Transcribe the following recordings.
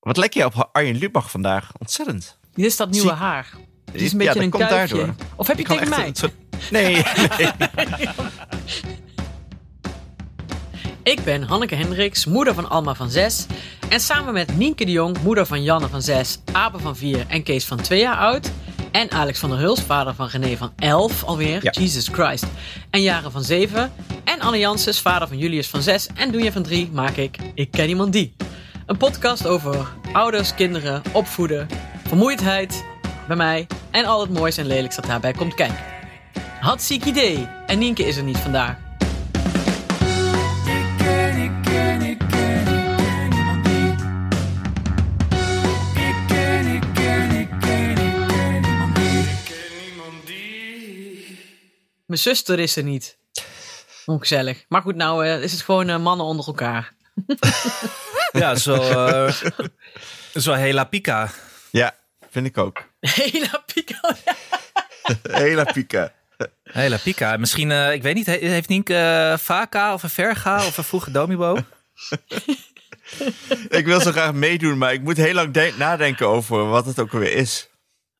Wat lek je op Arjen Lubach vandaag? Ontzettend. Dit is dat nieuwe Zie- haar. Het is een Ja, beetje dat een komt kuifje. daardoor. Of heb je kan tegen echt mij? een soort- Nee, nee. Ik ben Hanneke Hendricks, moeder van Alma van 6. En samen met Nienke de Jong, moeder van Janne van 6, Abe van 4 en Kees van 2 jaar oud. En Alex van der Huls, vader van René van 11 alweer. Ja. Jesus Christ. En Jaren van 7. En Anne Janssens, vader van Julius van 6 en Doenje van 3, maak ik Ik Ken Iemand Die. Een podcast over ouders, kinderen, opvoeden, vermoeidheid bij mij en al het moois en lelijks dat daarbij komt kijken. Had ziek idee. En Nienke is er niet vandaag. Mijn zuster is er niet. Ongezellig. Maar goed, nou eh, is het gewoon eh, mannen onder elkaar. Ja, zo, eh, zo Hela Pika. ja, vind ik ook. Hela Pico. ja. Hela pieke. Hela Pika. Misschien, eh, ik weet niet, he- heeft Nienke eh, Vaka of een Verga of een vroege Domibo? Ik wil zo graag meedoen, maar ik moet heel lang de- nadenken over wat het ook alweer is.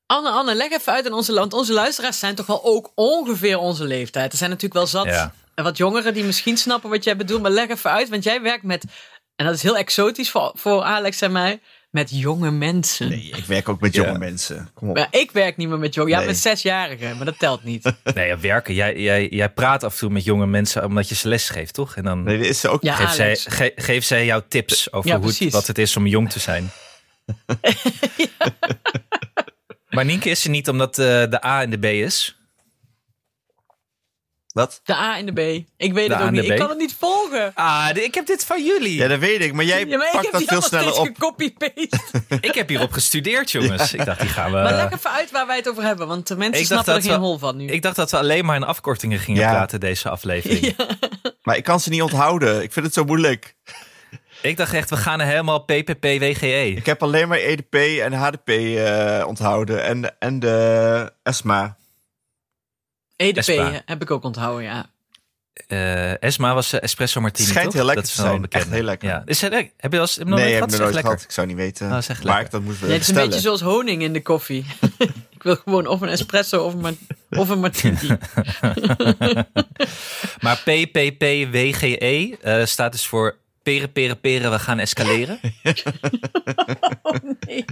Anne, Anne, leg even uit in onze land. Onze luisteraars zijn toch wel ook ongeveer onze leeftijd. Er zijn natuurlijk wel zat Ja. en wat jongeren die misschien snappen wat jij bedoelt. Maar leg even uit, want jij werkt met, en dat is heel exotisch voor, voor Alex en mij, met jonge mensen. Nee, ik werk ook met jonge Ja. mensen. Kom op. Maar ik werk niet meer met jongen. Ja, Nee. met zesjarigen, maar dat telt niet. Nee, ja, werken. Jij, jij, jij praat af en toe met jonge mensen omdat je ze les geeft, toch? En dan Nee, dit is ook. Ja, geeft, zij, Alex. ge- geeft zij jou tips over Ja, hoe, het- precies. wat het is om jong te zijn. Maar Nienke is er niet omdat eh, de A en de B is. Wat? De A en de B. Ik weet het De A ook en de niet. Ik B. kan het niet volgen. Ah, de- ik heb dit van jullie. Ja, dat weet ik, maar jij Ja, maar ik pakt heb dat die veel allemaal steeds sneller op. gecopy-paste. Ik heb hierop gestudeerd, jongens. Ik dacht, die gaan we... Eh, Maar leg even uit waar wij het over hebben, want de mensen Ik dacht snappen er dat geen we- hol van nu. Ik dacht dat we alleen maar in afkortingen gingen Ja. praten deze aflevering. Maar ik kan ze niet onthouden. Ik vind het zo moeilijk. Ik dacht echt, we gaan er helemaal PPP, WGE. Ik heb alleen maar EDP en HDP eh, onthouden. En, en de ESMA. Nou, EDP Espa. E heb ik ook onthouden, ja. Eh, Esma was eh, Espresso Martini, Schijnt toch? heel lekker dat is te wel zijn. een bekende. Echt heel lekker. Ja. Is het, heb je wel eens heb je nog nee, heb nooit gehad? ik nog Is echt nooit lekker. gehad. Ik zou niet weten. Nou, Oh, is echt maar lekker. ik dat moet Ja, wel het is een bestellen. beetje zoals honing in de koffie. ik wil gewoon of een espresso of een, ma- of een martini. Maar PPP, WGE eh, staat dus voor peren, peren, peren, we gaan escaleren. Oh, nee.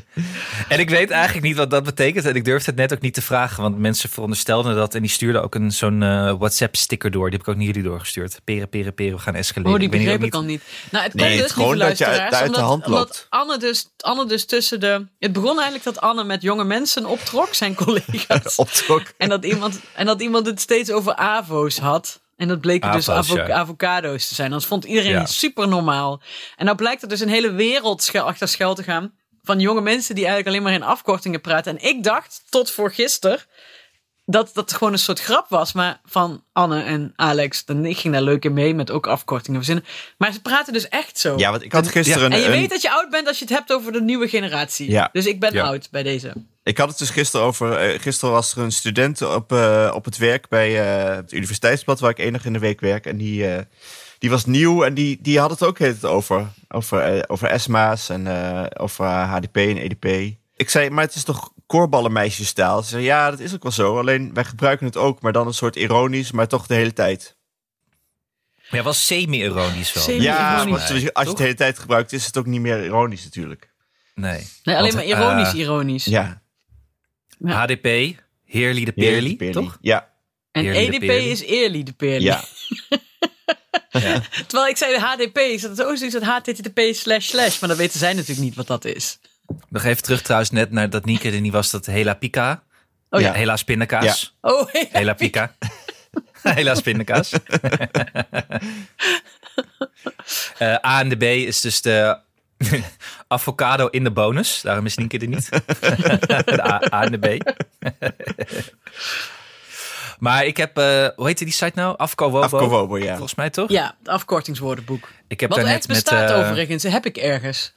En ik weet eigenlijk niet wat dat betekent. En ik durfde het net ook niet te vragen, want mensen veronderstelden dat. En die stuurden ook een, zo'n eh, WhatsApp-sticker door. Die heb ik ook niet jullie doorgestuurd. Peren, peren, peren, we gaan escaleren. Oh, die weet niet begreep ook ik al niet. Nou, het Nee, komt het dus, is gewoon lieve dat je uit- luisteraars, uit de omdat- hand Omdat loopt. Anne dus, Anne dus tussen de... Het begon eigenlijk dat Anne met jonge mensen optrok, zijn collega's. Optrok. En dat, iemand, en dat iemand het steeds over avo's had. En dat bleken dus Avo's, avo- ja. avocado's te zijn. Dat vond iedereen Ja. super normaal. En nou blijkt er dus een hele wereld schuil- achter schuil te gaan. Van jonge mensen die eigenlijk alleen maar in afkortingen praten. En ik dacht, tot voor gisteren, dat dat gewoon een soort grap was. Maar van Anne en Alex. En ik ging daar leuk in mee met ook afkortingen verzinnen. Maar ze praten dus echt zo. Ja, want ik had gisteren en je een, weet dat je oud bent als je het hebt over de nieuwe generatie. Ja. Dus ik ben Ja. oud bij deze. Ik had het dus gisteren over. eh, gisteren was er een student op, eh, op het werk bij eh, het universiteitsblad waar ik enig in de week werk. En die, eh, die was nieuw en die, die had het ook het over. Over, eh, over ESMA's en eh, over HDP en EDP. Ik zei, maar het is toch koorballenmeisjesstaal? Ze zei, ja, dat is ook wel zo. Alleen wij gebruiken het ook, maar dan een soort ironisch, maar toch de hele tijd. niet. Ja, was semi-ironisch wel. Semi- Ja, ironisch. maar als je het de hele tijd gebruikt, is het ook niet meer ironisch natuurlijk. Nee. Nee, alleen Want, maar ironisch, eh, ironisch. Ja, Ja. HDP, Heerly de Peerly, toch? Ja, En Eerly de EDP Peerly. is Eerly de Peerly. ja. Terwijl ik zei de HDP, is dat ook zoiets dat HTTP slash slash. Maar dat weten zij natuurlijk niet wat dat is. Nog even terug trouwens net naar dat Nienke er niet was. Dat Hela Pika. Oh ja. Ja, Helaas pindakaas. Oh, ja. Hela Pika. Helaas pindakaas. Eh, A en de B is dus de avocado in de bonus. Daarom is Nienke er niet. de A, A en de B. maar ik heb, eh, hoe heette die site nou? Afko Wobo. Afkowobo, ja. Volgens mij toch? ja, het afkortingswoordenboek. Ik heb Wat daar net echt bestaat met, eh, overigens, heb ik ergens.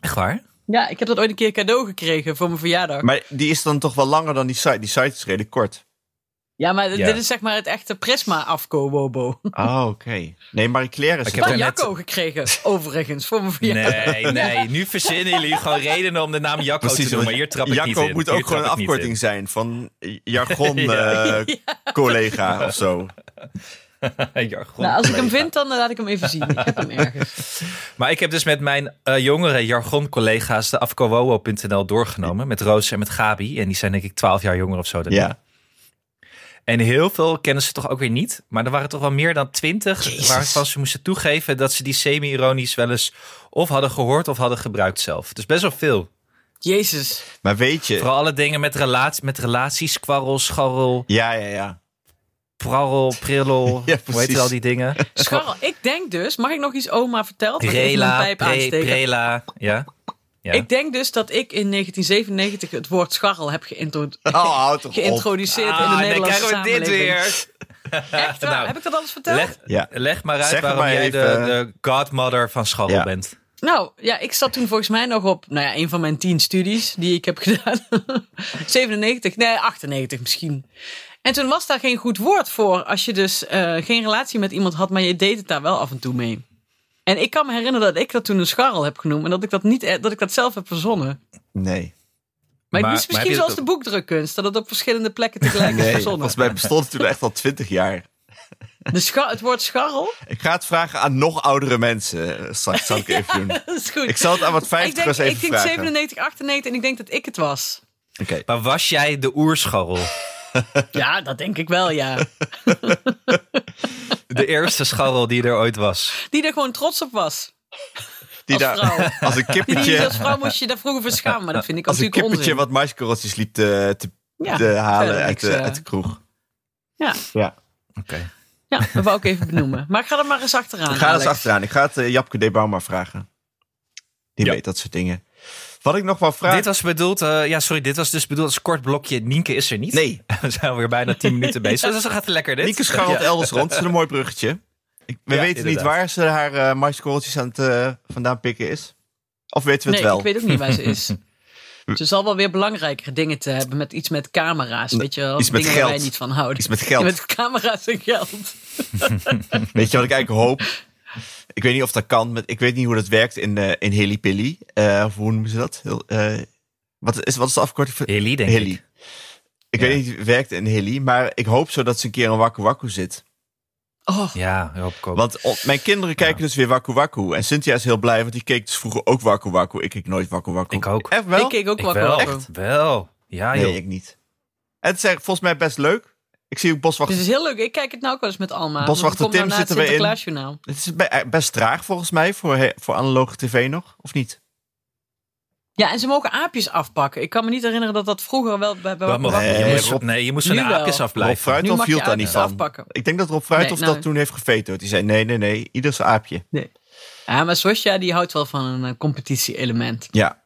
Echt waar? Ja, ik heb dat ooit een keer cadeau gekregen voor mijn verjaardag. Maar die is dan toch wel langer dan die site. Die site is redelijk kort. Ja, maar d- Ja. dit is zeg maar het echte Prisma-afko-wobo. Oh, oké. Nee, Marie Claire is Ik ik heb Van er net- Jacco gekregen, overigens, voor mijn verjaardag. Nee, nee. Nu verzinnen jullie gewoon redenen om de naam Jacco te doen. Maar hier trap ik niet in. Jacco moet Hier ook gewoon een trap ik niet in. afkorting zijn van jargon-collega Ja. of zo. Jargon. Nou, als ik hem vind, dan eh, laat ik hem even zien. Ik heb hem ergens. Maar ik heb dus met mijn eh, jongere jargon-collega's de afkowowo.nl doorgenomen. Met Roos en met Gabi. En die zijn denk ik 12 jaar jonger of zo. dan ik. Ja. En heel veel kennen ze toch ook weer niet. Maar er waren toch wel meer dan 20 Jezus. waarvan ze moesten toegeven dat ze die semi-ironisch wel eens of hadden gehoord of hadden gebruikt zelf. Dus best wel veel. Jezus. Maar weet je... Vooral alle dingen met, relatie, met relaties, kwarrel, scharrel, Ja, ja, ja. prarrel, prillel. Ja, hoe heet precies. het al die dingen? Scharrel, ik denk dus, mag ik nog iets oma verteld? Dat ik even mijn Rela, pijp pre, aansteek. prela. Ja. ja. Ik denk dus dat ik in 1997 het woord scharrel heb geïntro- Oh, houd toch op. geïntroduceerd in de Ah, dan Nederlandse krijgen we dit samenleving. weer. Echt waar? Nou, heb ik dat alles verteld? Leg, Ja. leg maar uit Zeg waarom maar jij de, even. de godmother van scharrel Ja. bent. Nou, ja, ik zat toen volgens mij nog op, nou ja, een van mijn tien studies die ik heb gedaan. 97, nee, 98 misschien. En toen was daar geen goed woord voor als je dus eh, geen relatie met iemand had, maar je deed het daar wel af en toe mee. En ik kan me herinneren dat ik dat toen een scharrel heb genoemd en dat ik dat, niet, eh, dat, ik dat zelf heb verzonnen. Nee. Maar, Maar- het is maar heb misschien je zoals dat de boekdrukkunst, dat het op verschillende plekken tegelijk is Nee, verzonnen. volgens mij bestond het toen echt al twintig jaar. De scha- het woord scharrel, Ik ga het vragen aan nog oudere mensen. eh, Straks zal ik even doen. dat is goed. Ik zal het aan wat Ik denk, 50ers even ik denk vragen. 97, 98 en ik denk dat ik het was. Oké. Maar was jij de oerscharrel? Ja, dat denk ik wel, ja. De eerste scharrel die er ooit was. Die er gewoon trots op was. Die Als vrouw. daar als een Die niet als kippertje, vrouw moest je daar vroeger voor schamen. Maar dat vind ik als een natuurlijk kippertje onzin. wat maiskorreltjes liep te, te, Ja, te halen verder uit niks, de, eh. uit de kroeg. Ja. ja. Oké. Ja, dat wou ik even benoemen. Maar ik ga er maar eens achteraan. Ik ga eens Alex. achteraan. Ik ga het eh, Japke de Bauma vragen. Die Ja. weet dat soort dingen. Wat ik nog wel vraag... Dit was bedoeld, eh, ja, sorry, dit was dus bedoeld als kort blokje. Nienke is er niet. Nee, We zijn weer bijna 10 minuten bezig. Dus dat gaat lekker dit. Nieke scharrelt Ja. elders rond. Dat is een mooi bruggetje. Ik, we Ja, weten niet inderdaad. waar ze haar eh maiskorreltjes aan het eh, vandaan pikken is. Of weten we Nee, het wel? ik weet ook niet waar ze is. Ze zal wel weer belangrijkere dingen te hebben met iets met camera's. Weet je wel, Iets met dingen waar wij geld. niet van houden. Iets met geld. Ja, met camera's en geld. Weet je wat ik eigenlijk hoop? Ik weet niet of dat kan. maar Ik weet niet hoe dat werkt in, eh in Hilly Pilly. Eh, of hoe noemen ze dat? Heel, eh, wat, is, wat is de afkorting van Hilly, denk Hilly? ik. Ik, Ja. weet niet hoe het werkt in Hilly. Maar ik hoop zo dat ze een keer een Waku Waku zit. Oh, Ja, hoop ik ook. Want op- mijn kinderen kijken dus weer Waku Waku. En Cynthia is heel blij, want die keek dus vroeger ook Waku Waku. Ik keek nooit Waku Waku. Ik ook. Echt wel? ik keek ook Ik wel. wel. Coco. Echt? Wel. Ja, joh. Nee, ik niet. En het is eigenlijk volgens mij best leuk. Ik zie ook Dus Boswachter. het is heel leuk. Ik kijk het nou ook wel eens met Alma. Boswachter Want die komt Tim nou na het zit er weer in. Sinterklaasjournaal. Het is be- eh, best traag volgens mij voor, he- voor analoge tv nog, of niet? Ja, en ze mogen aapjes afpakken. Ik kan me niet herinneren dat dat vroeger wel bij, bij Maar- maar- Nee, je moest, Rob- nee, je moest van Nu de wel. aapjes Rob afblijven. Nu Fruithof mag je hield daar niet aapjes van. afpakken. Ik denk dat Rob Fruithof Nee, nou- dat toen heeft gevetoed. Die zei nee, nee, nee, ieder zijn aapje. Ja, maar Sosja die houdt wel van een eh, competitie-element. Ja.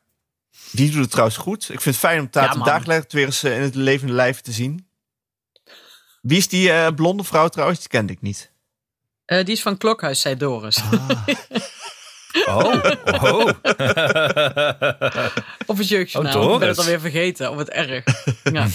Die doet het trouwens goed. Ik vind het fijn om Ja, Tatum man. dagelijks weer eens eh, in het levende lijf te zien. Wie is die eh, blonde vrouw trouwens? Die kende ik niet. Eh, die is van Klokhuis, zei Doris. Oh, oh. Of het jeugdjournaal. Oh, Doris. ik ben het alweer vergeten. Of het erg. Ja.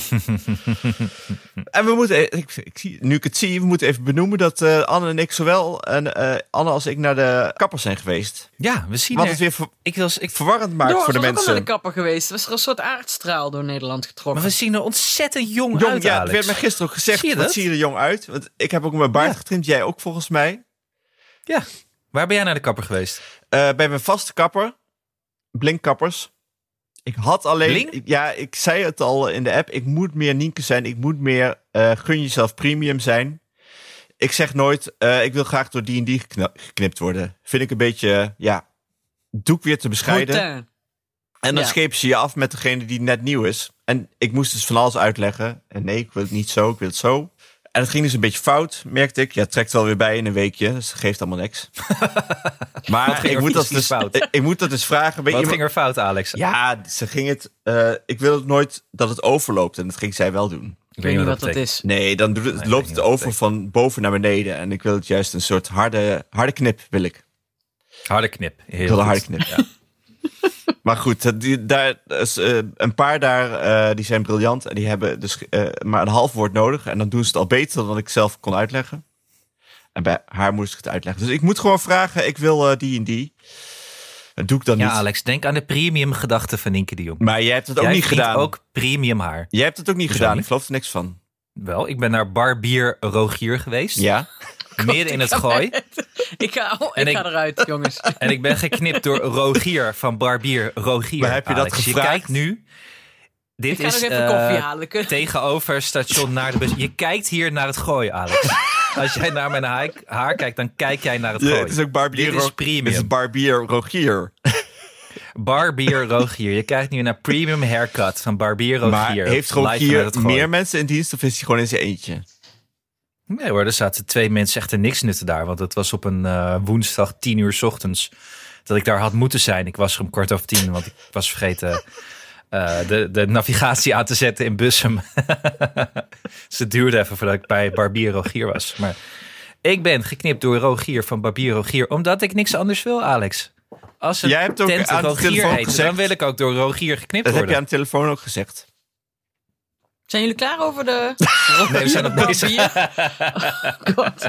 En we moeten, eh, ik, ik zie, nu ik het zie, we moeten even benoemen dat eh, Anne en ik zowel, en, eh, Anne als ik, naar de kapper zijn geweest. Ja, we zien Wat er- het weer ver- ik was, ik, verwarrend maakt Doris voor de was ook al naar mensen. de kapper geweest. Was er een soort aardstraal door Nederland Maar getrokken. we zien er ontzettend jong, Jong, uit, ja, het Alex. werd mij gisteren ook gezegd. Zie je wat dat? zie je er jong uit? Want ik heb ook mijn baard Ja. getrimd, jij ook volgens mij. Ja. Waar ben jij naar de kapper geweest? Eh, bij mijn vaste kapper, Blinkkappers. Ik had alleen. Blink? ik- ja, ik zei het al in de app. Ik moet meer Nienke zijn. Ik moet meer eh, gun jezelf premium zijn. Ik zeg nooit, eh, ik wil graag door die en die gekna- geknipt worden. Vind ik een beetje, eh, ja, doek weer te bescheiden. Routine. En dan Ja. schepen ze je af met degene die net nieuw is. En ik moest dus van alles uitleggen. En nee, ik wil het niet zo, ik wil het zo. En het ging dus een beetje fout, merkte ik. Ja, het trekt wel weer bij in een weekje, dus het geeft allemaal niks. maar ging ik er moet, dat precies dus, fout? ik, ik moet dat dus vragen. Weet Wat je- ging er fout, Alex? Ja, ze ging het... eh, ik wil het nooit dat het overloopt. En dat ging zij wel doen. Ik weet niet wat dat is. Nee, dan doet het, Nee, loopt ik het weet niet wat over dat van boven naar beneden. En ik wil het juist een soort harde, harde knip, wil ik. Harde knip. Heel Ik wil een goed. harde knip. Maar goed, eh, die, daar, is, eh, een paar daar eh, die zijn briljant. En die hebben dus eh, maar een half woord nodig. En dan doen ze het al beter dan ik zelf kon uitleggen. En bij haar moest ik het uitleggen. Dus ik moet gewoon vragen, ik wil eh, die en die. Dat doe ik dan Ja, niet. Alex, denk aan de premium gedachten van Nienke de Jong. Maar jij hebt het ook Jij niet verdient gedaan. ook premium haar. Jij hebt het ook niet Hoezo gedaan. niet? Ik geloof er niks van. Wel, ik ben naar Barbier Rogier geweest. Ja? Midden in het gooi. Ik ga, oh, En ik ik- ga eruit, jongens. En ik ben geknipt door Rogier van Barbier Rogier. Maar heb je dat Alex. gevraagd? Je kijkt nu. Ik Dit ga is nog even eh, koffie halen. Kun- tegenover station naar de bus. Je kijkt hier naar het gooien, Alex. Als jij naar mijn haar, haar kijkt, dan kijk jij naar het Ja, gooien. het is ook barbier. Dit is Ro- premium. Het is barbier Rogier. Barbier Rogier. Je kijkt nu naar premium haircut van Barbier Rogier. Maar heeft Live vanuit het Rogier Gooi. meer mensen in dienst of is hij gewoon in zijn eentje? Nee hoor, er zaten twee mensen echt in niks nutten daar. Want het was op een eh, woensdag tien uur 's ochtends dat ik daar had moeten zijn. Ik was er om kwart over tien, want ik was vergeten eh, de, de navigatie aan te zetten in Bussum. dus het duurde even voordat ik bij Barbier Rogier was. Maar ik ben geknipt door Rogier van Barbier Rogier, omdat ik niks anders wil, Alex. Als een Jij hebt ook tent aan de Rogier telefoon heet, dan gezegd- wil ik ook door Rogier geknipt Dat heb je worden. aan de telefoon ook gezegd. Zijn jullie klaar over de. Nee, we zijn nog Papier? bezig. Oh, God.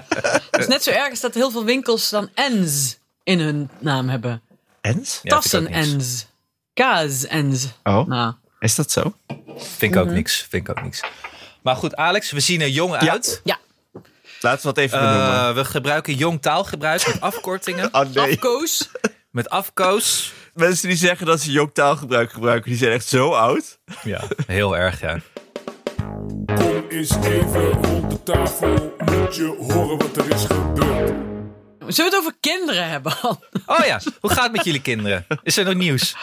Het is net zo erg als dat heel veel winkels dan ens in hun naam hebben. Ens? Ja, vind ik ook niks. Tassen-ens. Kaas-ens. Oh, Nou, is dat zo? Vind ik ook niks. Vind ik ook niks. Maar goed, Alex, we zien er jong Ja. uit. ja. Laten we dat even benoemen. Eh, we gebruiken jong taalgebruik met afkortingen, Ah nee, Afkoos. met afkoos. mensen die zeggen dat ze jong taalgebruik gebruiken, die zijn echt zo oud. Ja, heel erg, ja. Kom eens even rond de tafel, moet je horen wat er is gebeurd. Zullen we het over kinderen hebben, Han? Oh ja, hoe gaat het met jullie kinderen? Is er nog nieuws?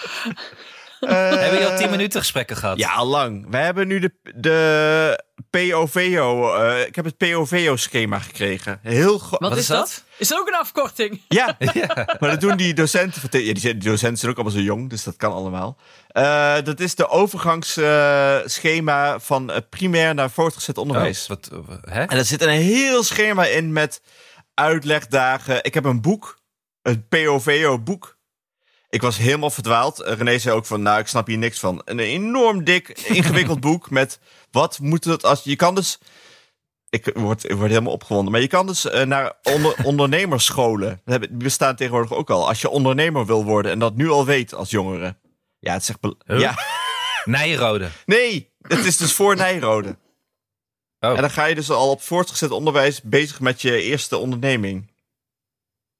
Hebben jullie al tien minuten gesprekken gehad? Eh, Ja, al lang. We hebben nu de, de POVO. eh, ik heb het POVO-schema gekregen. Heel go- Wat, Wat is is dat? dat? Is dat ook een afkorting? Ja, maar dat doen die docenten. van te- Ja, die, zijn- die docenten zijn ook allemaal zo jong, dus dat kan allemaal. Eh, dat is de overgangsschema van eh, primair naar voortgezet Oh, onderwijs. wat, eh, hè? En er zit een heel schema in met uitlegdagen. Ik heb een boek, een POVO-boek. Ik was helemaal verdwaald. Eh, René zei ook van, nou, ik snap hier niks van. Een enorm dik, ingewikkeld boek met wat moet het als... Je kan dus... Ik word, ik word helemaal opgewonden. Maar je kan dus eh, naar onder, ondernemersscholen. Dat hebben- Die bestaan tegenwoordig ook al. Als je ondernemer wil worden en dat nu al weet als jongere. Ja, het zegt... Huh? Ja, Nijrode. nee, het is dus voor Nijrode. Oh, En dan ga je dus al op voortgezet onderwijs bezig met je eerste onderneming.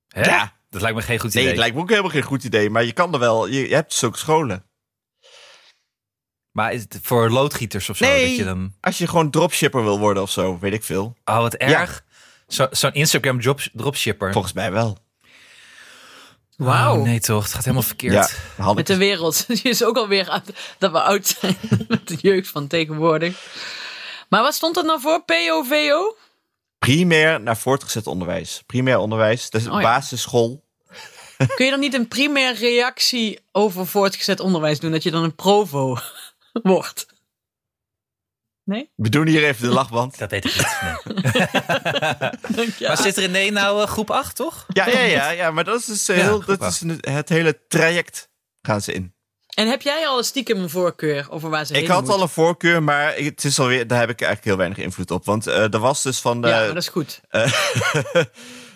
hè? ja. Dat lijkt me geen goed Nee, idee. het lijkt me ook helemaal geen goed idee, maar je kan er wel. Je, je hebt zulke scholen. Maar is het voor loodgieters of zo? Dat je dan... als je gewoon dropshipper wil worden of zo, weet ik veel. Oh, wat erg. Zo- Zo'n Instagram drop, dropshipper. Volgens mij wel. Wauw. Oh, nee toch, het gaat helemaal Ja, verkeerd. had Met ik- dus de wereld. Die is ook alweer aan, dat we oud zijn. Met de jeugd van tegenwoordig. Maar wat stond dat nou voor? POVO? primair naar voortgezet onderwijs. Primair onderwijs, dus Oh ja. basisschool. Kun je dan niet een primair reactie over voortgezet onderwijs doen? Dat je dan een provo wordt? Nee? We doen hier even de lachband. Dat weet ik niet. nee. Dank je. Maar zit René nou eh, groep 8, toch? Ja, ja, ja, ja, maar dat is dus eh, Ja, heel, goed dat wel. is een- het hele traject gaan ze in. En heb jij al stiekem een voorkeur over waar ze Ik heen had moeten? al een voorkeur, maar het is alweer, daar heb ik eigenlijk heel weinig invloed op. Want eh er was dus van de, Ja, maar dat is goed.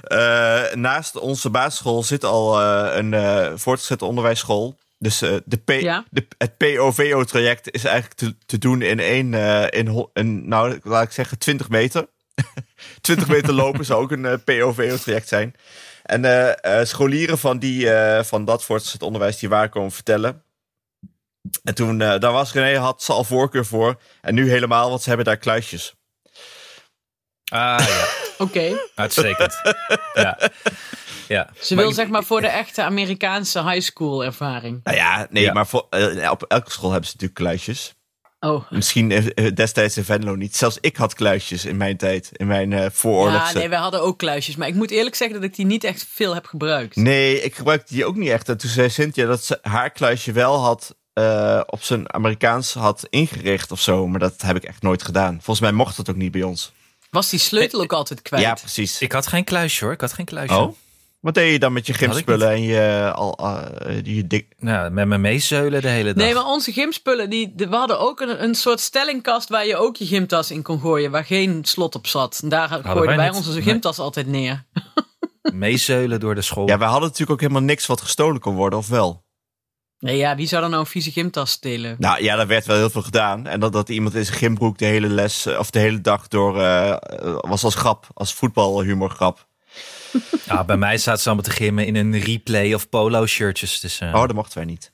Eh, naast onze basisschool zit al eh, een eh, voortgezet onderwijsschool. Dus eh, de P- Ja. de, het POVO-traject is eigenlijk te, te doen in één, eh, in, ho- in, nou laat ik zeggen, 20 meter. 20 meter lopen zou ook een eh, POVO-traject zijn. En eh, eh, scholieren van, die, eh, van dat voortgezet onderwijs die waren komen vertellen. En toen, eh, daar was René, had ze al voorkeur voor. En nu helemaal, want ze hebben daar kluisjes. Ah ja. Oké. Uitstekend. ja. ja. Ze wil zeg maar voor de echte Amerikaanse high school ervaring. Nou ja, nee, Ja. maar voor, eh, op elke school hebben ze natuurlijk kluisjes. Oh. Misschien eh, eh, destijds in Venlo niet. Zelfs ik had kluisjes in mijn tijd, in mijn eh Ja, vooroorlogse. nee, wij hadden ook kluisjes. Maar ik moet eerlijk zeggen dat ik die niet echt veel heb gebruikt. nee, ik gebruikte die ook niet echt. En toen zei Cynthia dat ze haar kluisje wel had, eh, op zijn Amerikaans had ingericht of zo. Maar dat heb ik echt nooit gedaan. Volgens mij mocht dat ook niet bij ons. Was die sleutel ook altijd kwijt? Ja, precies. Ik had geen kluisje hoor, ik had geen kluisje. Oh? Wat deed je dan met je ik gymspullen en je, al, eh, je dik... Nou, met me meezeulen de hele dag. Nee, maar onze gymspullen, die, de- we hadden ook een, een soort stellingkast waar je ook je gymtas in kon gooien, waar geen slot op zat. En daar gooiden wij wij niet. onze Nee. gymtas altijd neer. Meezeulen door de school. Ja, wij hadden natuurlijk ook helemaal niks wat gestolen kon worden, of wel? Nee, ja, wie zou dan nou een vieze gymtas stelen? Nou ja, daar werd wel heel veel gedaan. En dat, dat iemand in zijn gymbroek de hele les, eh, of de hele dag door, eh, eh, was als grap, als voetbalhumorgrap. Ja, Ah, bij mij zaten ze allemaal te gimmen in een replay of polo shirtjes. Dus, eh, Oh, dat mochten wij niet.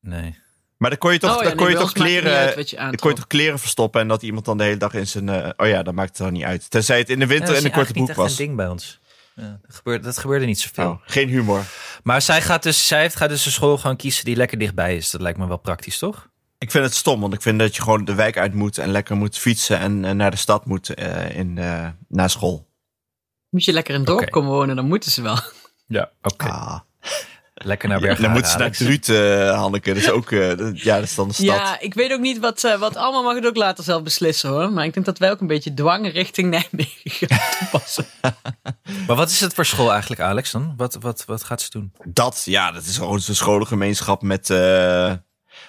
nee. Maar dan kon je toch, Oh, ja, dan nee, kon je bij toch ons maakt het niet kleren... uit wat je Dan kon je aantrok. toch kleren verstoppen en dat iemand dan de hele dag in zijn... eh, oh ja, dat maakt het dan niet uit. Tenzij het in de winter en een korte broek niet echt was. een ding bij ons. Ja, dat, gebeurde, dat gebeurde niet zoveel. Oh, geen humor. Maar zij gaat, dus, zij gaat dus een school gaan kiezen die lekker dichtbij is. Dat lijkt me wel praktisch, toch? Ik vind het stom, want ik vind dat je gewoon de wijk uit moet en lekker moet fietsen en, en naar de stad moet eh, in, eh, naar school. Moet je lekker in het dorp Oké. komen wonen, dan moeten ze wel. Ja. Oké. Ah. Lekker naar Dan Bergen. moeten ze naar Druut, eh, Hanneke. Dat is ook, eh, dat- ja, dat is dan de stad. Ja, ik weet ook niet wat, eh, wat allemaal mag het ook later zelf beslissen hoor. Maar ik denk dat wij ook een beetje dwang richting Nijmegen gaan toepassen. Maar wat is het voor school eigenlijk, Alex? Dan? Wat, wat, wat gaat ze doen? Dat, ja, dat is gewoon zo'n scholengemeenschap met... eh,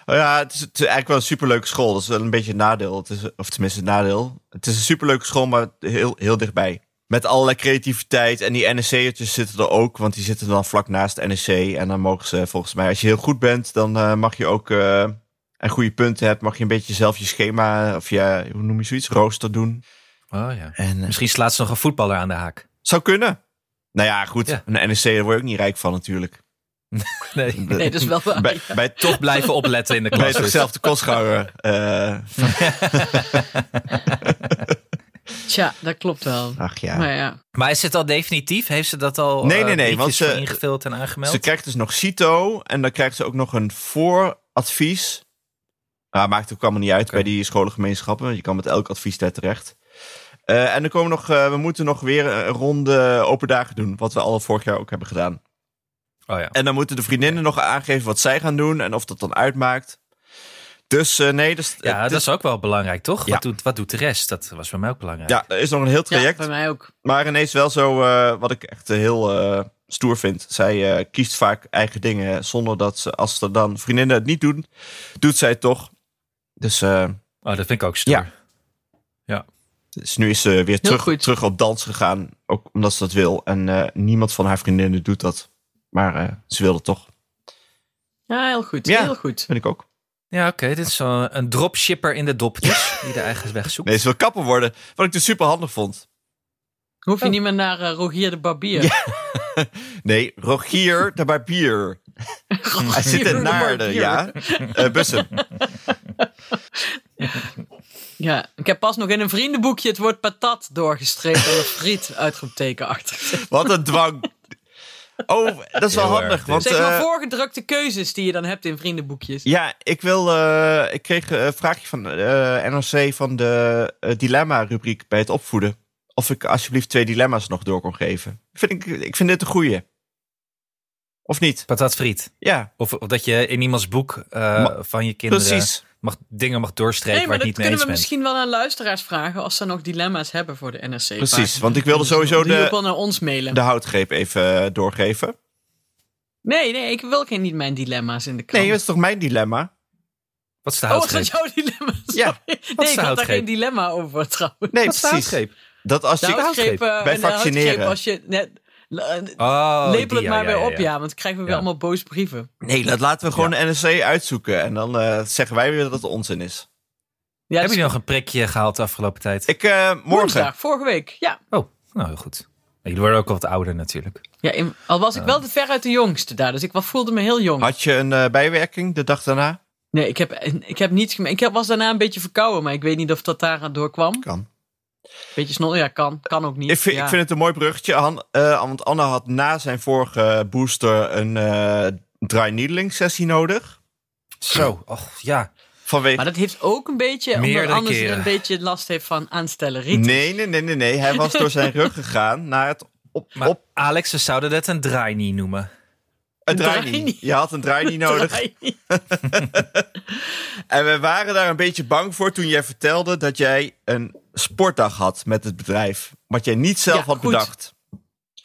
oh ja, het is, het is eigenlijk wel een superleuke school. Dat is wel een beetje een nadeel. Het is, of tenminste een nadeel. Het is een superleuke school, maar heel, heel dichtbij. Met allerlei creativiteit. En die NEC'ertjes zitten er ook, want die zitten dan vlak naast NEC. En dan mogen ze volgens mij, als je heel goed bent, dan eh, mag je ook... eh, en goede punten hebt, mag je een beetje zelf je schema... Of je, hoe noem je zoiets? Rooster doen. Oh ja. En, eh, Misschien slaat ze nog een voetballer aan de haak. zou kunnen. Nou ja, goed. Ja. Een NEC, daar word je ook niet rijk van natuurlijk. Nee. Nee, dat is wel waar. bij, bij toch Toch blijven opletten in de Bij klas. dus. zichzelf de kostschouwer. Eh, Tja, dat klopt wel. ach ja. Maar ja. Maar is het al definitief? Heeft ze dat al Nee, eh, nee, nee, briefjes want ze- voor ingevuld en aangemeld? Ze krijgt dus nog CITO en dan krijgt ze ook nog een vooradvies. Nou, maakt ook allemaal niet uit bij die scholengemeenschappen. want Je kan met elk advies daar terecht. Eh, en dan komen nog, eh, we moeten nog weer een ronde open dagen doen. Wat we al vorig jaar ook hebben gedaan. Oh ja. En dan moeten de vriendinnen nog aangeven wat zij gaan doen en of dat dan uitmaakt. Dus eh, nee, dus, Ja, het dat is ook wel belangrijk, toch? Ja. Wat, doet, wat doet de rest? Dat was bij mij ook belangrijk. ja, er is nog een heel ja, traject. bij mij ook. Maar ineens wel zo, eh, wat ik echt eh, heel eh, stoer vind. Zij eh, kiest vaak eigen dingen zonder dat ze, als er dan vriendinnen het niet doen, doet zij het toch. Dus, eh, Oh, dat vind ik ook stoer. Ja. dus nu is ze weer terug, goed. terug op dans gegaan, ook omdat ze dat wil. En eh, niemand van haar vriendinnen doet dat. Maar eh, ze wil het toch, Ja, heel goed. Ja. Heel goed. vind ik ook. Ja, oké. Dit is zo'n een dropshipper in de dopjes die de eigen weg zoekt. Nee, ze wil kapper worden, wat ik dus super handig vond. Hoef je niet meer naar eh, Rogier de Barbier. Nee, Rogier de Barbier. Hij zit in Naarden, ja. Eh Bussum. Ja, ik heb pas nog in een vriendenboekje het woord patat doorgestreept en een friet uitroepteken achter. Wat een dwang. Oh, dat is wel Heel erg handig. dit. Want, Zeg maar eh, voorgedrukte keuzes die je dan hebt in vriendenboekjes. Ja, ik wil. eh, ik kreeg eh, een vraagje van eh NRC van de eh, dilemma-rubriek bij het opvoeden. Of ik alsjeblieft twee dilemma's nog door kon geven. Vind ik, ik vind dit een goeie. Of niet? Patatfriet. Ja, Of, of dat je in iemands boek eh, Ma- van je kinderen precies. Mag, dingen mag doorstrepen nee, waar maar je dat het niet mee kunnen eens we bent. misschien wel aan luisteraars vragen als ze nog dilemma's hebben voor de NRC. Precies, want ik wilde sowieso Die ook de, wel naar ons mailen. de houtgreep even eh, doorgeven. Nee, nee, ik wil geen, niet mijn dilemma's in de krant. Nee, dat is toch mijn dilemma? Wat is de oh, is houtgreep? dat jouw dilemma? Ja, Sorry. de nee, ik had daar houtgreep? geen dilemma over trouwens. Nee, Wat is de precies. houtgreep? Dat als De je. houtgreep, eh, Bij en de houtgreep vaccineren. als je net, eh, Oh, Lepel die, het ja, maar ja, weer ja, op, ja. ja. want dan krijgen we weer Ja. allemaal boze brieven. Nee, dat laten we gewoon de NRC uitzoeken. En dan eh, zeggen wij weer dat het onzin is. Ja, Hebben dus jullie nog een prikje gehaald de afgelopen tijd? Ik, eh, morgen. woensdag, vorige week. Ja, Oh, nou heel goed. Jullie worden ook al wat ouder natuurlijk. ja in- al was ik Oh. wel te ver uit de jongste daar, dus ik wel- voelde me heel jong. Had je een eh, bijwerking de dag daarna? Nee, ik heb, ik heb niets geme- Ik heb- was daarna een beetje verkouden, maar ik weet niet of dat daar door kwam. Kan. Beetje snor, ja, kan. Kan ook niet. Ik vind, ja. ik vind het een mooi bruggetje. Han, eh, want Anna had na zijn vorige booster een eh, dry needling sessie nodig. Zo, och ja. Vanwege. Maar dat heeft ook een beetje, omdat Meerdere anders keren. een beetje last heeft van aanstelleriet. Nee, nee, nee, nee, nee. Hij was door zijn rug gegaan naar het op, Maar op Alex, ze zouden dat een draai niet noemen. een draai draai niet. Je had een draai niet nodig. En we waren daar een beetje bang voor toen jij vertelde dat jij een sportdag had met het bedrijf. Wat jij niet zelf Ja, had goed. bedacht.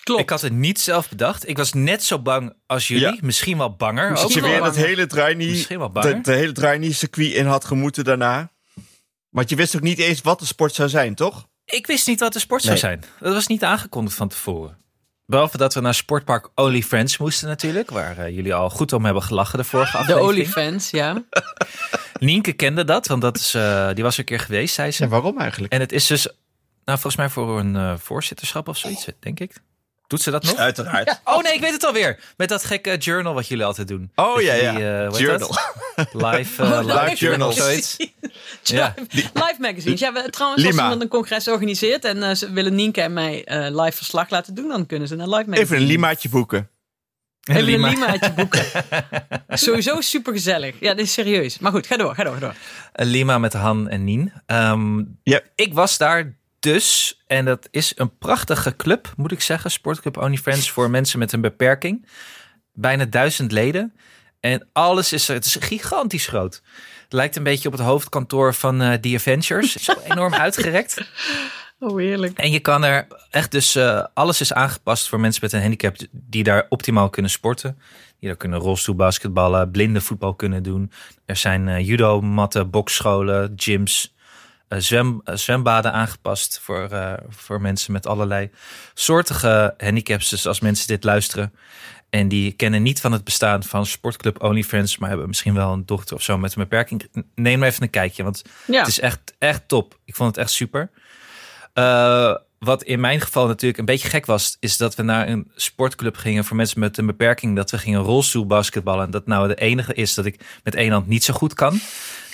Klopt. Ik had het niet zelf bedacht. Ik was net zo bang als jullie. Ja. Misschien wel banger. Als ook je wel weer banger. dat hele trainee, Misschien wel banger. dat, de hele trainee circuit in had gemoeten daarna. Want je wist ook niet eens wat de sport zou zijn, toch? Ik wist niet wat de sport zou Nee. zijn. Dat was niet aangekondigd van tevoren. Behalve dat we naar sportpark Only Friends moesten natuurlijk. Waar eh, jullie al goed om hebben gelachen de vorige Ah, de aflevering. olifants, ja. Nienke kende dat, want dat is, eh, die was er een keer geweest, zei ze. Ja, waarom eigenlijk? En het is dus, nou volgens mij voor een eh, voorzitterschap of zoiets, denk ik. Doet ze dat nog? Uiteraard. Oh nee, ik weet het alweer. Met dat gekke journal wat jullie altijd doen. Oh Dat ja, ja. jullie, eh, hoe heet Journal. dat? Live, eh, Oh, live live journal of journals. zoiets. Ja. Live magazines. Ja, we, trouwens, Lima. als iemand een congres organiseert en eh, ze willen Nienke en mij eh, live verslag laten doen, dan kunnen ze naar live magazine. Even een limaatje boeken. Even Lima. een limaatje boeken. Sowieso supergezellig. Ja, dit is serieus. Maar goed, ga door, ga door, ga door. Eh, Lima met Han en Nien. Ehm, Ja. Ik was daar dus. En dat is een prachtige club, moet ik zeggen. Sportclub Only Friends voor mensen met een beperking. Bijna duizend leden. En alles is er. Het is gigantisch groot. Het lijkt een beetje op het hoofdkantoor van eh The Adventures. Het is wel enorm uitgerekt. Oh, heerlijk. En je kan er echt dus, eh, alles is aangepast voor mensen met een handicap die daar optimaal kunnen sporten. Die daar kunnen rolstoelbasketballen, blinde voetbal kunnen doen. Er zijn eh, judo-matten, boksscholen, gyms, eh, zwem, eh, zwembaden aangepast voor, eh, voor mensen met allerlei soortige handicaps. Dus als mensen dit luisteren en die kennen niet van het bestaan van sportclub OnlyFans, maar hebben misschien wel een dochter of zo met een beperking. Neem maar even een kijkje, want Ja, het is echt, echt top. Ik vond het echt super. Eh, wat in mijn geval natuurlijk een beetje gek was, is dat we naar een sportclub gingen voor mensen met een beperking. Dat we gingen rolstoelbasketballen. En dat nou de enige is dat ik met één hand niet zo goed kan.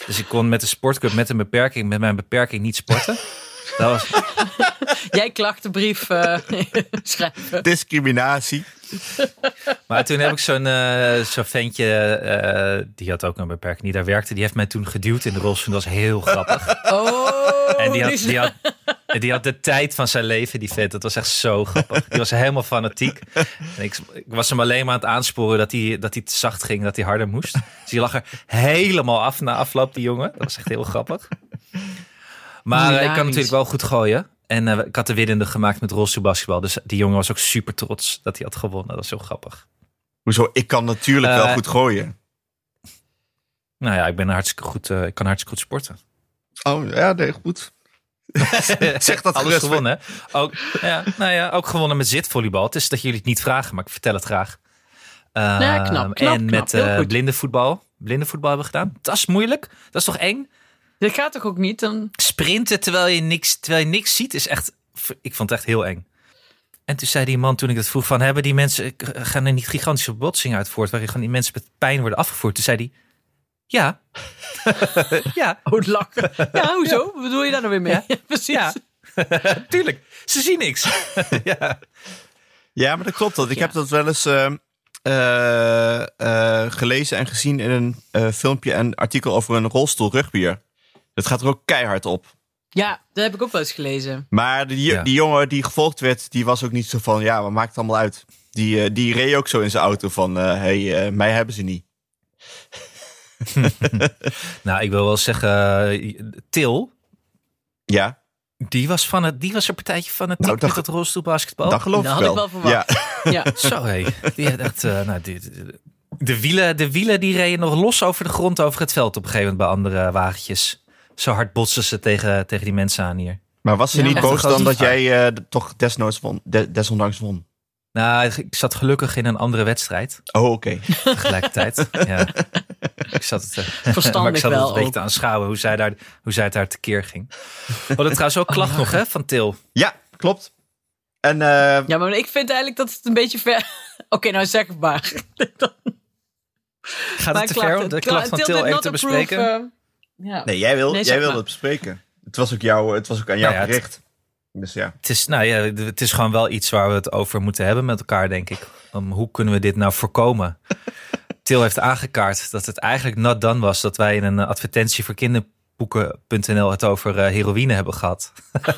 Dus ik kon met een sportclub met een beperking, met mijn beperking niet sporten. Dat was, jij klachtenbrief eh, schrijven. Discriminatie. Maar toen heb ik zo'n eh, zo'n ventje, eh, die had ook een beperking, die daar werkte. Die heeft mij toen geduwd in de rolstoel. Dat was heel grappig. Oh, En die had, is- die, had, die had de tijd van zijn leven, die vet. Dat was echt zo grappig. Die was helemaal fanatiek. En ik, ik was hem alleen maar aan het aansporen dat hij, dat hij te zacht ging, dat hij harder moest. Dus die lag er helemaal af na afloop, die jongen. Dat was echt heel grappig. Maar eh, ik Hilarisch. kan natuurlijk wel goed gooien. En eh, ik had de winnende gemaakt met rolstoelbasketbal. Dus die jongen was ook super trots dat hij had gewonnen. Dat was heel grappig. Hoezo? Ik kan natuurlijk Eh, wel goed gooien. Nou ja, ik ben hartstikke goed. eh, ik kan hartstikke goed sporten. Oh, ja, nee, goed. Zeg dat Alles gerust. gewonnen. hè? Ook, ja, nou ja, ook gewonnen met zitvolleybal. Het is dat jullie het niet vragen, maar ik vertel het graag. Ehm, Ja, knap, knap, en knap. met Heel eh goed. blinde voetbal. Blinde voetbal hebben we gedaan. Dat is moeilijk. Dat is toch eng? Dit gaat toch ook niet? Dan... Sprinten terwijl je niks, terwijl je niks ziet is echt. Ik vond het echt heel eng. En toen zei die man toen ik dat vroeg van hebben die mensen eh, gaan er niet gigantische botsingen uit voort waarin gewoon die mensen met pijn worden afgevoerd. Toen zei hij ja, ja. Oh, lachen. Ja, hoezo? Wat bedoel je daar nou weer mee? Ja. precies. Ja. Tuurlijk, ze zien niks. ja. Ja, maar dat klopt. Dat. Ik Ja. heb dat wel eens eh, eh, eh, gelezen en gezien in een eh, filmpje en artikel over een rolstoel rugbier. Dat gaat er ook keihard op. Ja, dat heb ik ook wel eens gelezen. Maar die, Ja. die jongen die gevolgd werd, die was ook niet zo van, ja, wat maakt het allemaal uit? Die, eh, die reed ook zo in zijn auto van, hé, hey, eh, mij hebben ze niet. Nou, ik wil wel zeggen, eh, Til, Ja, die, die was, van het, die was een partijtje van het Nou, met dat- dat rolstoelbasketbal. dat geloof ik dat had ik wel. wel verwacht. Ja, Ja, Zo hé, die had echt, eh, nou, die- die- de, wielen, de wielen die reden nog los over de grond over het veld op een gegeven moment bij andere wagentjes. Zo hard botsen ze tegen, tegen die mensen aan hier. maar was ze Ja, niet echt een boos grote dan dat vraag. jij eh, d- toch desnoods won, de- desondanks won? Nou, ik zat gelukkig in een andere wedstrijd Oh, oké. tegelijkertijd. ja. Ik zat het, eh, verstandig maar ik zat wel. het een beetje ook. te aanschouwen hoe zij, daar, hoe zij het daar tekeer ging. We hadden trouwens Oh, ook klacht nog hè, van Til. Ja, klopt. En eh, Ja, maar ik vind eigenlijk dat het een beetje ver... Oké, nou zeg het maar. Gaat Maar het te klachten- ver om de kla- klacht van till Til did even not te approve, bespreken? eh, ja. nee, jij, wil, Nee, zeg jij wilde maar. het bespreken. Het was ook, jou, het was ook aan jou Nou ja, het- gericht. Dus ja. Het is, nou ja, het is gewoon wel iets waar we het over moeten hebben met elkaar, denk ik. Om, hoe kunnen we dit nou voorkomen? Til heeft aangekaart dat het eigenlijk nat dan was dat wij in een eh, advertentie voor kinderboeken.nl het over eh, heroïne hebben gehad.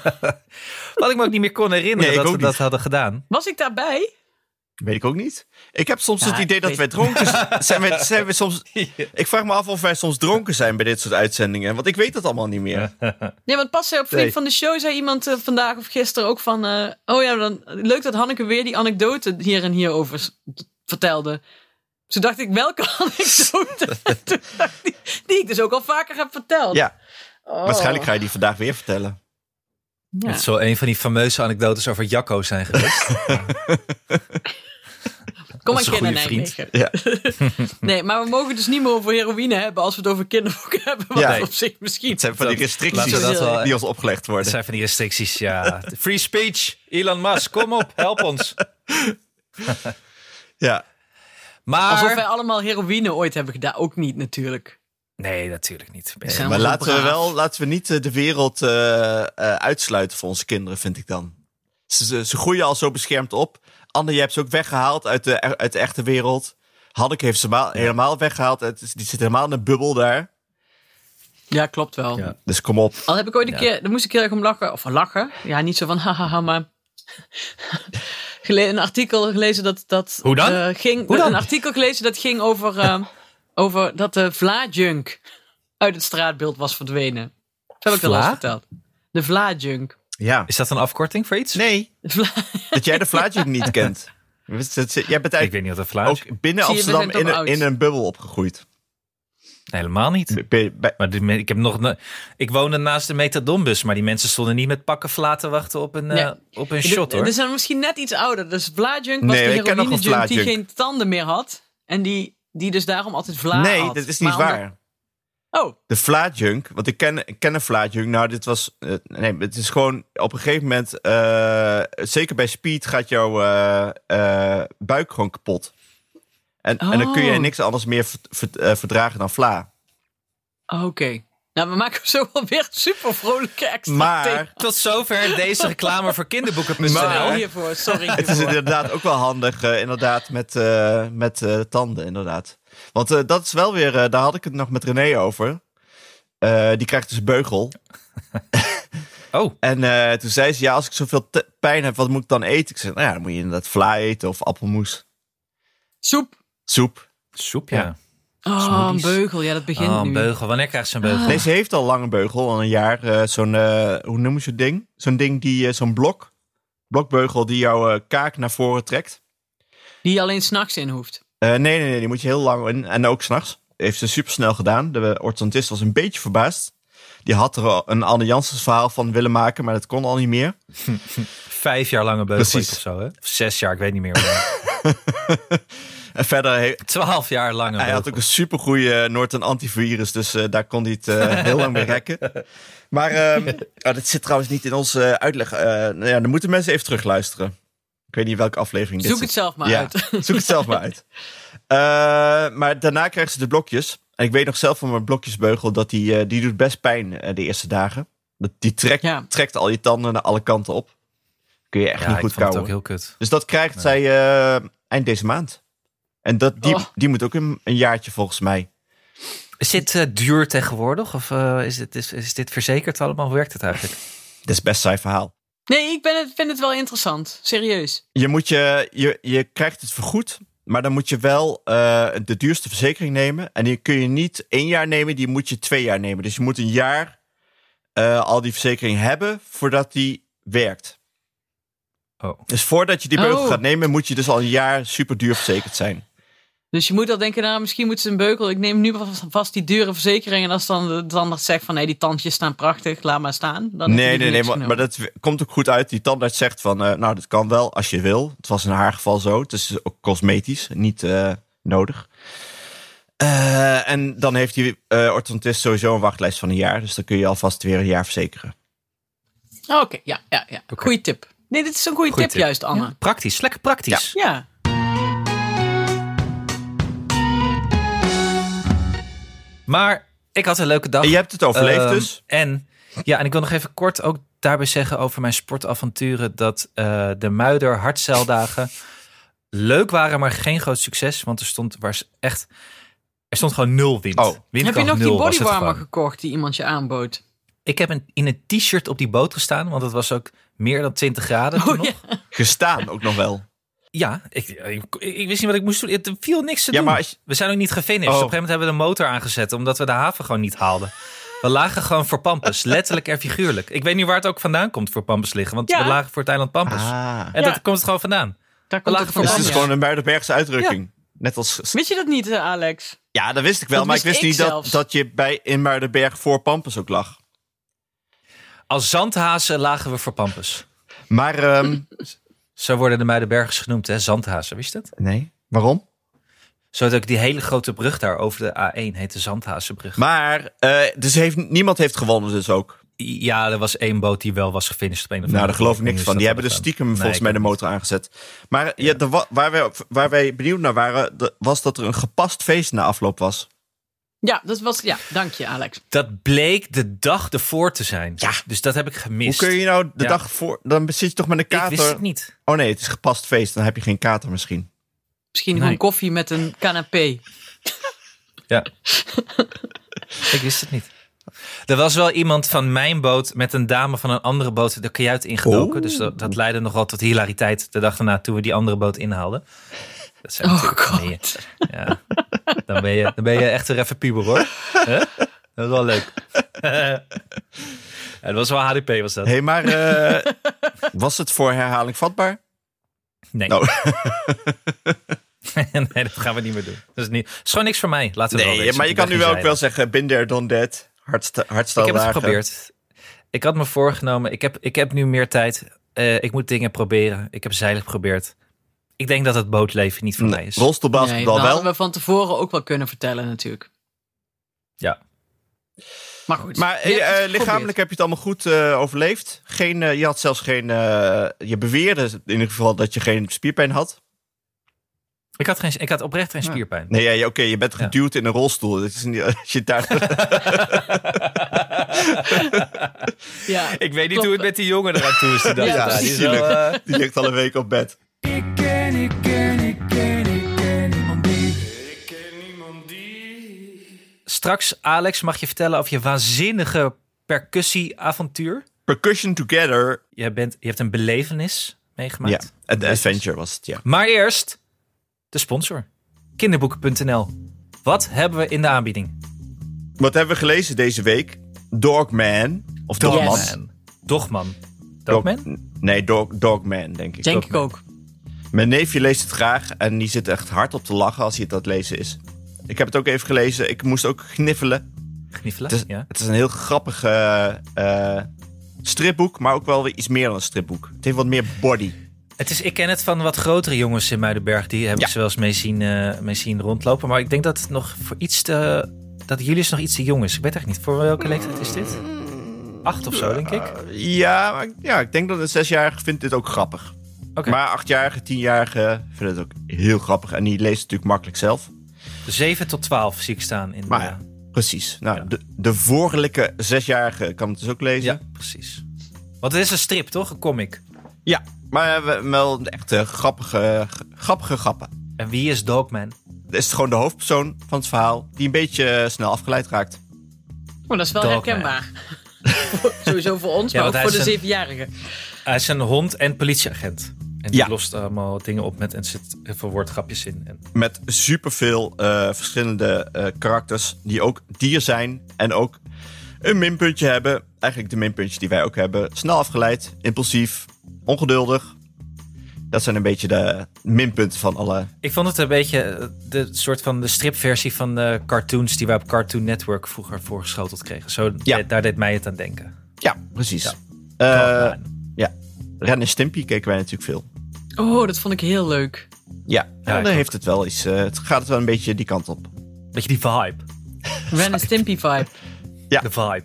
Wat ik me ook niet meer kon herinneren Nee, ik dat we ook dat niet. hadden gedaan. Was ik daarbij? Weet ik ook niet. Ik heb soms Ja, het idee ik dat weet- wij dronken z- zijn. We, zijn we soms, ik vraag me af of wij soms dronken zijn bij dit soort uitzendingen. Want ik weet dat allemaal niet meer. Nee, want pas eh, op vriend Nee. van de show zei iemand eh, vandaag of gisteren ook van... eh, oh ja, dan, leuk dat Hanneke weer die anekdote hier en hier over s- vertelde. Toen dacht ik, welke anekdote? Toen dacht ik, die ik dus ook al vaker heb verteld. Ja, Oh. waarschijnlijk ga je die vandaag weer vertellen. Ja. Het zal een van die fameuze anekdotes over Jacco zijn geweest. Kom dat maar is kennen een goede Nijmegen. Ja. Nee, maar we mogen dus niet meer over heroïne hebben als we het over kinderboeken hebben. Wat Ja. op zich misschien... Het zijn van die Dat- restricties Laten we dat Precies. wel. die ons opgelegd Dat worden. zijn van die restricties, ja. Free speech, Elon Musk, kom op, help ons. Ja. Maar... Alsof wij allemaal heroïne ooit hebben gedaan. Ook niet natuurlijk. Nee, natuurlijk niet. Ben je- Zijn Maar allemaal laten we, braaf. wel, laten we niet eh, de wereld eh, eh, uitsluiten voor onze kinderen, vind ik dan. Ze, ze, ze groeien al zo beschermd op. Anne, je hebt ze ook weggehaald uit de, uit de echte wereld. Hanneke heeft ze ma- helemaal weggehaald. Het, die zit helemaal in een bubbel daar. Ja, klopt wel. Ja. Dus kom op. Al heb ik ooit een Ja. keer, daar moest ik heel erg om lachen. Of lachen. Ja, niet zo van hahaha, maar. gele- een artikel gelezen dat. dat Hoe dan? eh, ging, Hoe dan? Een artikel gelezen dat ging over. eh, over dat de Vla-junk uit het straatbeeld was verdwenen. Dat heb ik wel Vla? eens verteld. De Vla-junk. Ja. Is dat een afkorting voor iets? Nee, De Vla- dat jij de Vlaatje niet kent. Dat- dat- Jij bent Ik eigenlijk weet niet wat dat flauw is. ook binnen Zie je, we Amsterdam zijn toch in een, oud. in een bubbel opgegroeid. Nee, helemaal niet. Bij- bij- Maar die me- ik, heb nog, ne- ik woonde naast de Metadonbus, maar die mensen stonden niet met pakken fla te wachten op een, eh, Nee. op een shot, hoor. Dus zijn misschien net iets ouder. Dus Vla-junk was Nee, die ik ken nog een heroïne-junk die Vla-junk. geen tanden meer had. En die, die dus daarom altijd Vla nee, had. dat is niet Maar omdat- waar. Oh, De Vlaatjunk, want ik ken, ik ken een Vlaatjunk. Nou, dit was. eh, nee, het is gewoon op een gegeven moment. eh, zeker bij speed gaat jouw eh, eh, buik gewoon kapot. En, en dan kun je Oh. niks anders meer vert- vert- eh, verdragen dan Vla. Oké. Nou, we maken zo wel weer super vrolijke extra Maar Tot zover deze reclame voor Oh, kinderboeken.nl. thee. Maar- hiervoor, sorry. het is hiervoor. inderdaad ook wel handig, eh, inderdaad, met, eh, met eh, tanden, inderdaad. Want eh, dat is wel weer, eh, daar had ik het nog met René over. Eh, die krijgt dus beugel. Oh, En eh, toen zei ze, ja, als ik zoveel te- pijn heb, wat moet ik dan eten? Ik zei, nou ja, dan moet je inderdaad vla eten of appelmoes. Soep. Soep. soep, ja. Ja. Oh, een Smoothies. beugel. Ja, dat begint Oh, een nu. beugel. Wanneer krijgt ze een beugel? Nee, ze heeft al lang een beugel, al een jaar. eh, zo'n, eh, hoe noemen ze het ding? Zo'n ding die, eh, zo'n blok. Blokbeugel die jouw eh, kaak naar voren trekt. Die je alleen s'nachts in hoeft. Eh, nee, nee, nee, die moet je heel lang in. En ook s'nachts. Heeft ze supersnel gedaan. De eh, orthodontist was een beetje verbaasd. Die had er al een Anne Janssens verhaal van willen maken, maar dat kon al niet meer. Vijf jaar lange beugel Precies. of zo, hè? Of zes jaar, ik weet niet meer. hoe En verder, he- lang. Twaalf jaar lange hij beugel. had ook een supergoeie Norton antivirus, dus eh, daar kon hij het eh, heel lang mee rekken. Maar ehm, oh, dat zit trouwens niet in onze eh, uitleg. Eh, nou ja, dan moeten mensen even terugluisteren. Ik weet niet welke aflevering dit Zoek zit. het zelf maar uit. Zoek het zelf maar uit. Eh, maar daarna krijgen ze de blokjes. En ik weet nog zelf van mijn blokjesbeugel dat die, eh, die doet best pijn eh, de eerste dagen. Dat, die trekt, Ja. trekt al je tanden naar alle kanten op. Kun je echt Ja, niet ik goed vond het kouwen. ook heel kut. Dus dat krijgt zij eh, eind deze maand. En dat, die, Oh. die moet ook een, een jaartje volgens mij. Is dit eh, duur tegenwoordig? Of eh, is, dit, is, is dit verzekerd allemaal? Hoe werkt het eigenlijk? Dat is best saai verhaal. Nee, ik ben het, vind het wel interessant. Serieus. Je, moet je, je, je krijgt het vergoed, maar dan moet je wel eh, de duurste verzekering nemen. En die kun je niet één jaar nemen, die moet je twee jaar nemen. Dus je moet een jaar eh, al die verzekering hebben voordat die werkt. Oh. Dus voordat je die beugel Oh. gaat nemen, moet je dus al een jaar super duur verzekerd zijn. Dus je moet al denken, nou, misschien moeten ze een beugel. Ik neem nu vast- vast die dure verzekering. En als dan de tandarts zegt van, nee, die tandjes staan prachtig. Laat maar staan. Dan Nee, nee, nee, maar, nou? maar dat w- komt ook goed uit. Die tandarts zegt van, eh, nou, dat kan wel als je wil. Het was in haar geval zo. Het is ook cosmetisch, niet eh, nodig. Eh, en dan heeft die eh orthodontist sowieso een wachtlijst van een jaar. Dus dan kun je alvast weer een jaar verzekeren. Oh, Oké, ja, ja, ja. Goeie tip. Nee, dit is een goede Goeie tip, tip. juist, Anne. Praktisch, lekker praktisch. Ja. Maar ik had een leuke dag. En je hebt het overleefd Ehm, dus. En, ja, en ik wil nog even kort ook daarbij zeggen over mijn sportavonturen. Dat eh, de Muider hardzeildagen leuk waren, maar geen groot succes. Want er stond was echt... Er stond gewoon nul wind. Oh. Windkracht Heb je nog die nul was het bodywarmer gewoon. gekocht die iemand je aanbood? Ik heb een, in een t-shirt op die boot gestaan. Want het was ook meer dan 20 graden toen Oh, ja. nog. Gestaan ook nog wel. Ja, ik, ik, ik wist niet wat ik moest doen. Er viel niks te Ja, doen. maar als je- We zijn ook niet gefinished. Oh. Op een gegeven moment hebben we de motor aangezet, omdat we de haven gewoon niet haalden. We lagen gewoon voor Pampus, letterlijk en figuurlijk. Ik weet niet waar het ook vandaan komt voor Pampus liggen, want Ja. we lagen voor het eiland Pampus. Ah. En Ja. dat komt het gewoon vandaan. Daar komt lagen het voor Dus vandaan, het is ja. gewoon een Muidenbergse uitdrukking. Net als... Wist je dat niet, eh, Alex? Ja, dat wist ik wel, Dat maar ik wist wist ik niet dat, zelfs. dat je bij, in Muidenberg voor Pampus ook lag. Als zandhazen lagen we voor Pampus. Maar, ehm, Zo worden de Muidenbergers genoemd, hè? Zandhazen, wist je dat? nee, waarom? Zo had ook die hele grote brug daar over de A1 heet de Zandhazenbrug. Maar, eh, dus heeft, niemand heeft gewonnen dus ook. Ja, er was één boot die wel was gefinished. Op een of Nou, daar andere geloof ik manier niks is van. dat Die hebben dus wel gedaan. stiekem Nee, volgens ik mij de weet motor aangezet. Maar ja, de wa- waar, wij, waar wij benieuwd naar waren, de- was dat er een gepast feest na afloop was. Ja, dat was. Ja, dank je, Alex. niet. Dat bleek de dag ervoor te zijn. Ja. Dus dat heb ik gemist. Hoe kun je nou de Ja. dag voor... Dan zit je toch met een Ik wist kater... het niet. Oh nee, het is gepast feest. Dan heb je geen kater misschien. Misschien Nee. gewoon koffie met een canapé. Ja. ik wist het niet. Er was wel iemand van mijn boot met een dame van een andere boot de kajuit ingedoken. Oh. Dus dat, dat leidde nogal tot hilariteit de dag daarna toen we die andere boot inhaalden. Dat zijn Oh, natuurlijk van die- God. Ja. Dan, ben je, dan ben je echt een even puber hoor. Hè? Dat is wel leuk. Ja, dat was wel HDP was dat. Hé, hey, maar eh, was het voor herhaling vatbaar? Nee. Nou. nee, dat gaan we niet meer doen. Dat is, niet, dat is gewoon niks voor mij. Laten we het wel Nee, weten. maar je Ik kan ben nu geen wel ook zeiler. wel zeggen, been there, done that. Hardsta- Ik heb Hartsteldagen. het geprobeerd. Ik had me voorgenomen. Ik heb, ik heb nu meer tijd. Eh, ik moet dingen proberen. Ik heb zeilen geprobeerd. Ik denk dat het bootleven niet voor mij Nee, is. nee, rolstoelbasketbal dat wel. hadden we van tevoren ook wel kunnen vertellen, natuurlijk. Ja. Maar goed. Maar je hebt eh, het eh, geprobeerd. lichamelijk heb je het allemaal goed eh, overleefd. Geen, eh, je had zelfs geen. eh, je beweerde in ieder geval dat je geen spierpijn had. Ik had, geen, ik had oprecht geen spierpijn. Nee, ja, ja, oké, je bent Ja. geduwd in een rolstoel. Dat is niet, als je daar, Ja. Ik weet niet Klopt. hoe het met die jongen eraan toe is. Die dag. Ja, Ja, die is wel, natuurlijk. eh, die ligt al een week op bed. Ik ken, ik ken, ik ken, ik ken niemand die. Ik ken niemand die. Straks, Alex, mag je vertellen over je waanzinnige percussieavontuur. Percussion Together. Je, bent, je hebt een belevenis meegemaakt. Ja, een adventure was het, ja. Maar eerst de sponsor. Kinderboeken.nl. Wat hebben we in de aanbieding? Wat hebben we gelezen deze week? Dogman. Of Dogman. Yes. Dogman. Dog- Dogman? Nee, dog, Dogman, denk ik. Denk ik Dogman. ook. Mijn neefje leest het graag en die zit echt hard op te lachen als hij het aan het lezen is. Ik heb het ook even gelezen. Ik moest ook gniffelen. Gniffelen? Het is, ja. het is een heel grappig eh, eh, stripboek, maar ook wel weer iets meer dan een stripboek. Het heeft wat meer body. Het is, ik ken het van wat grotere jongens in Muidenberg. Die heb Ja. ik ze wel eens mee zien, eh, mee zien rondlopen. Maar ik denk dat het nog voor iets te... Dat Julius nog iets te jong is. Ik weet eigenlijk niet. Voor welke leeftijd is dit? Acht of zo, denk ik. Oké. Ja, maar ik- ja ik denk dat een zesjarige vindt dit ook grappig. Maar achtjarige, tienjarige vinden het ook heel grappig. En die leest het natuurlijk makkelijk zelf. 7 tot 12 zie ik staan. In de- Maar ja, precies. Nou, de, de vorige zesjarige kan het dus ook lezen. ja, precies. Want het is een strip, toch? Een comic. Ja, maar we- wel echt eh, grappige, grappige grappen. En wie is Dogman? Het is gewoon de hoofdpersoon van het verhaal die een beetje eh, snel afgeleid raakt. Maar Oh, dat is wel Dogman. herkenbaar. Voor- Sowieso voor ons, Ja, maar want ook voor hij de is een- zevenjarigen. Hij is een hond en politieagent. En die Ja. lost allemaal dingen op met en zit heel veel woordgrapjes in. En met superveel eh verschillende eh, karakters die ook dier zijn en ook een minpuntje hebben. Eigenlijk de minpuntjes die wij ook hebben. Snel afgeleid, impulsief, ongeduldig. Dat zijn een beetje de minpunten van alle. ik vond het een beetje eh, de soort van de stripversie van de cartoons die wij op Cartoon Network vroeger voorgeschoteld kregen. Zo, Ja. eh, daar deed mij het aan denken. Ja, precies. Ja. Eh, Dogman. Ren en Stimpy keken wij natuurlijk veel. Oh, dat vond ik heel leuk. Ja, ik dan ook. heeft het wel iets. eh, het gaat het wel een beetje die kant op. Beetje die vibe. Ren en Stimpy vibe. Ja. De vibe.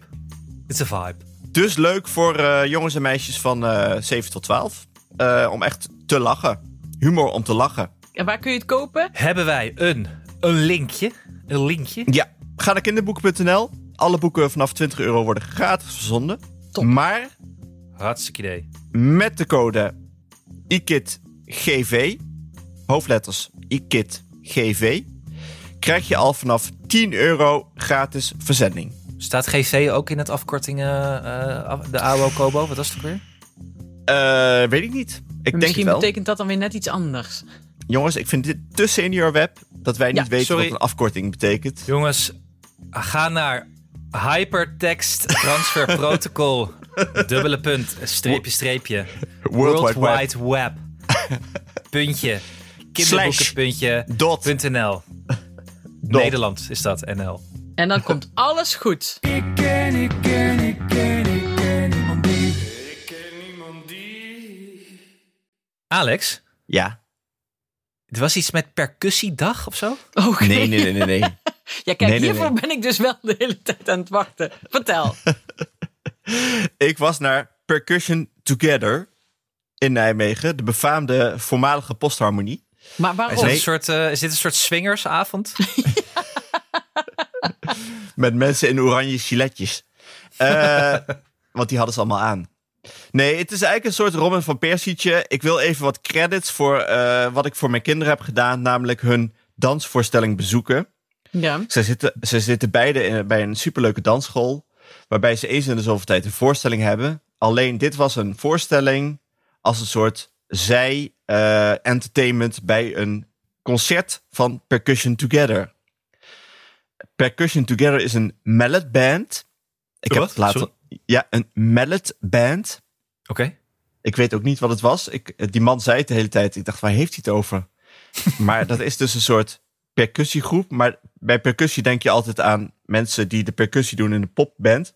It's a vibe. Dus leuk voor eh, jongens en meisjes van eh 7 tot 12. eh, om echt te lachen. Humor om te lachen. En waar kun je het kopen? Hebben wij een, een linkje? Een linkje? Ja, ga naar kinderboeken.nl. Alle boeken vanaf 20 euro worden gratis verzonden. Top. Maar Hartstikke idee. met de code IKIDGV, hoofdletters IKIDGV, krijg je al vanaf 10 euro gratis verzending. Staat GC ook in het afkortingen eh, af- de AWO Kobo? Wat was het ook weer? Eh, weet ik niet. Ik denk het Misschien wel. betekent dat dan weer net iets anders. Jongens, ik vind dit te senior web dat wij Ja, niet weten sorry. wat een afkorting betekent. Jongens, ga naar Hypertext Transfer Protocol. Dubbele punt, streepje, streepje. World Wide Web. Wide Web. Puntje. Kinderboeken.nl. Dot. Nederland is dat, NL. En dan komt alles goed. Ik ken, ik ken, ik ken, ik ken niemand die. Ik ken niemand die. Alex, Ja. het was iets met percussiedag of zo? Oké. Nee, nee, nee, nee. nee. Ja, kijk, Nee, nee, hiervoor nee. ben ik dus wel de hele tijd aan het wachten. Vertel. ik was naar Percussion Together in Nijmegen, de befaamde voormalige postharmonie. Maar Is, waarom? dat Nee. een soort, eh, is dit een soort swingersavond? Met mensen in oranje giletjes. Eh, want die hadden ze allemaal aan. Nee, het is eigenlijk een soort Robin van Persietje. Ik wil even wat credits voor eh, wat ik voor mijn kinderen heb gedaan. Namelijk hun dansvoorstelling bezoeken. Ja. Ze zitten, ze zitten beide in- bij een superleuke dansschool. Waarbij ze eens in de zoveel tijd een voorstelling hebben. Alleen dit was een voorstelling als een soort zij-entertainment bij een concert van Percussion Together. Percussion Together is een mallet band. Ik Een heb wat? het later. Ja, een mallet band. Oké. Ik weet ook niet wat het was. Ik, eh, die man zei het de hele tijd. Ik dacht, waar heeft hij het over? maar dat is dus een soort percussiegroep. Maar bij percussie denk je altijd aan mensen die de percussie doen in een popband.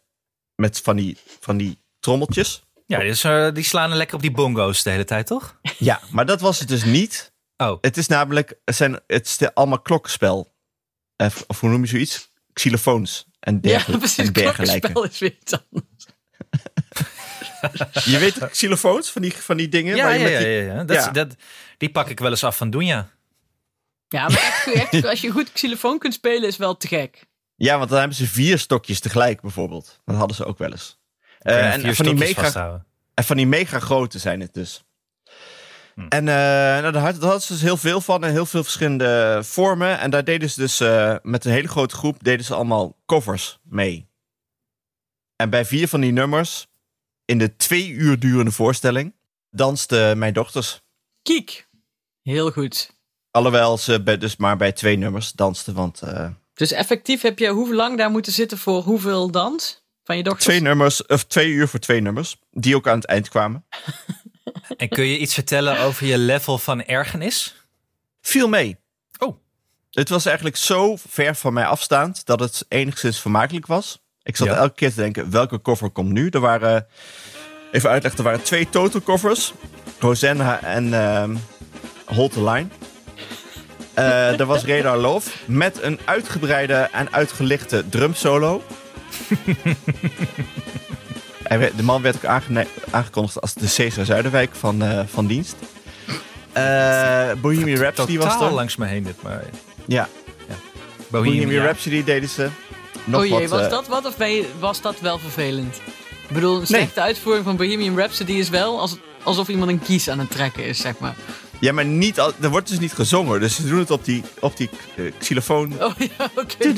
Met van die, van die trommeltjes. Ja, dus, eh, die slaan lekker op die bongo's de hele tijd, toch? Ja, maar dat was het dus niet. Oh, Het is namelijk, het, zijn, het is de- allemaal klokspel. Of, of hoe noem je zoiets? Xylofoons en, Ja, dergel- precies. en dergelijke. Klokkenspel is weer iets anders. Je weet de xylofoons van die, van die dingen? ja, waar je ja, ja. met die- ja, ja. Dat, is- Ja. Dat, die pak ik wel eens af van Doenja. Ja, maar echt, echt, als je goed xylofoon kunt spelen, is wel te gek. Ja, want dan hebben ze vier stokjes tegelijk bijvoorbeeld. Dat hadden ze ook wel eens. Eh, Kun je en, vier van die stokjes mega, vasthouden. en van die mega grote zijn het dus. Hm. En eh, nou, daar had- daar hadden ze dus heel veel van en heel veel verschillende vormen. En daar deden ze dus eh, met een hele grote groep deden ze allemaal covers mee. En bij vier van die nummers, in de twee uur durende voorstelling, dansten mijn dochters. Kiek. Heel goed. Alhoewel ze bij- dus maar bij twee nummers dansten, want eh, Dus effectief heb je hoe lang daar moeten zitten voor hoeveel dans van je dochter? twee nummers, of twee uur voor twee nummers, die ook aan het eind kwamen. En kun je iets vertellen over je level van ergernis? viel mee. Oh. Het was eigenlijk zo ver van mij afstaand dat het enigszins vermakelijk was. Ik zat Ja. elke keer te denken, welke cover komt nu? Er waren, even uitleggen, er waren twee total covers. Rosanna en ehm Hold the Line. Eh, er was Radar Love met een uitgebreide en uitgelichte drumsolo. Hij werd- de man werd ook aangene- aangekondigd als de Cesar Zuiderwijk van, eh, van dienst. Eh Bohemian Rhapsody was Totaal er. langs me heen dit, maar... Ja, Bohemian, Oh, Bohemian ja. Rhapsody deden ze. Nog oh jee, wat, was eh, dat wat of ben je- was dat wel vervelend? Ik bedoel, een slechte uitvoering van Bohemian Rhapsody is wel als, alsof iemand een kies aan het trekken is, zeg maar. Ja, maar niet, al- er wordt dus niet gezongen. Dus ze doen het op die, op die eh, xylofoon. Oh ja, oké.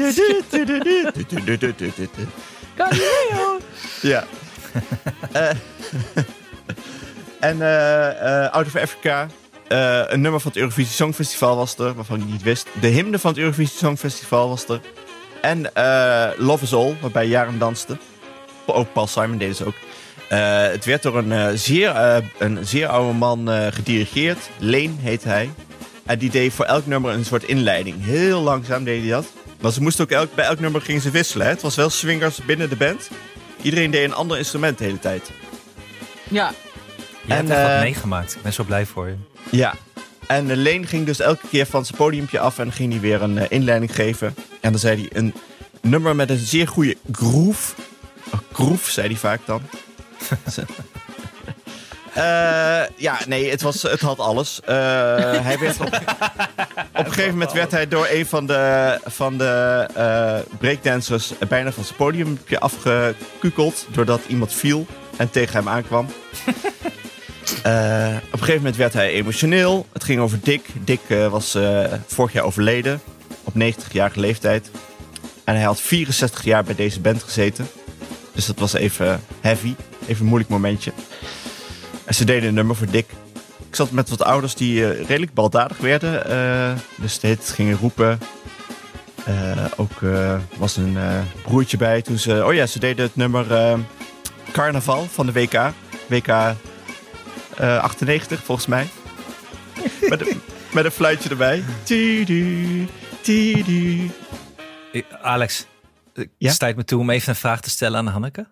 Galileo. Ja. Eh, en eh, eh, Out of Africa. eh, een nummer van het Eurovisie Songfestival was er, waarvan ik niet wist. De hymne van het Eurovisie Songfestival was er. En eh, Love is All, waarbij Jaren danste. Ook Paul Simon deed ze ook. Eh, het werd door een, eh, zeer, eh, een zeer oude man eh, gedirigeerd. Leen heet hij. En die deed voor elk nummer een soort inleiding. Heel langzaam deed hij dat. Maar ze moesten ook elk, bij elk nummer gingen ze wisselen. Hè? Het was wel swingers binnen de band. Iedereen deed een ander instrument de hele tijd. Ja, Je hebt En, echt wat eh, meegemaakt. Ik ben zo blij voor je. Ja. En eh, Leen ging dus elke keer van zijn podiumpje af en ging hij weer een eh, inleiding geven. En dan zei hij een nummer met een zeer goede groove. Oh, groove, zei hij vaak dan. Eh, ja, nee, het, was, het had alles. Eh, hij werd op, op een gegeven moment werd hij door een van de, van de eh, breakdancers bijna van zijn podiumpje afgekukeld. Doordat iemand viel en tegen hem aankwam. Eh, op een gegeven moment werd hij emotioneel. Het ging over Dick. Dick eh, was eh, vorig jaar overleden. Op 90-jarige leeftijd. En hij had 64 jaar bij deze band gezeten. Dus dat was even heavy. Even een moeilijk momentje. En ze deden een nummer voor Dick. Ik zat met wat ouders die eh, redelijk baldadig werden. eh, dus steeds gingen roepen. Eh, ook eh, was een eh, broertje bij toen ze... Oh ja, ze deden het nummer eh, Carnaval van de WK. WK eh, 98 volgens mij. met, een, met een fluitje erbij. Tidu, tidu. Ik- Alex, ik Ja? sta je het me toe om even een vraag te stellen aan Hanneke?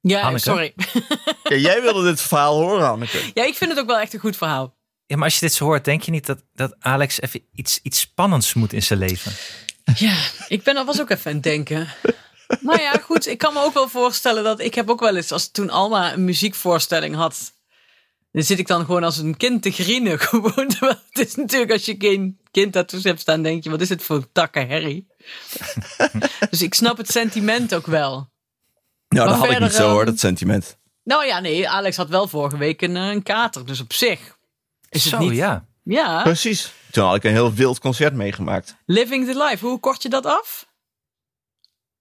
Ja, Hanneke? sorry. Ja, jij wilde dit verhaal horen, Anneke. Ja, ik vind het ook wel echt een goed verhaal. Ja, maar als je dit zo hoort, denk je niet dat, dat Alex even iets, iets spannends moet in zijn leven? Ja, ik ben alvast ook even aan het denken. Maar ja, goed, ik kan me ook wel voorstellen dat ik heb ook wel eens, als toen Alma een muziekvoorstelling had, dan zit ik dan gewoon als een kind te grienen. Gewoon, terwijl het is natuurlijk als je geen kind daartoe hebt staan, denk je, wat is dit voor een takkenherrie? dus ik snap het sentiment ook wel. Nou, Maar verder, ehm, sentiment. Nou ja, nee, Alex had wel vorige week een, eh, een kater, dus op zich is het zo, niet... ja. ja, Precies. Toen had ik een heel wild concert meegemaakt. living the life. Hoe kort je dat af?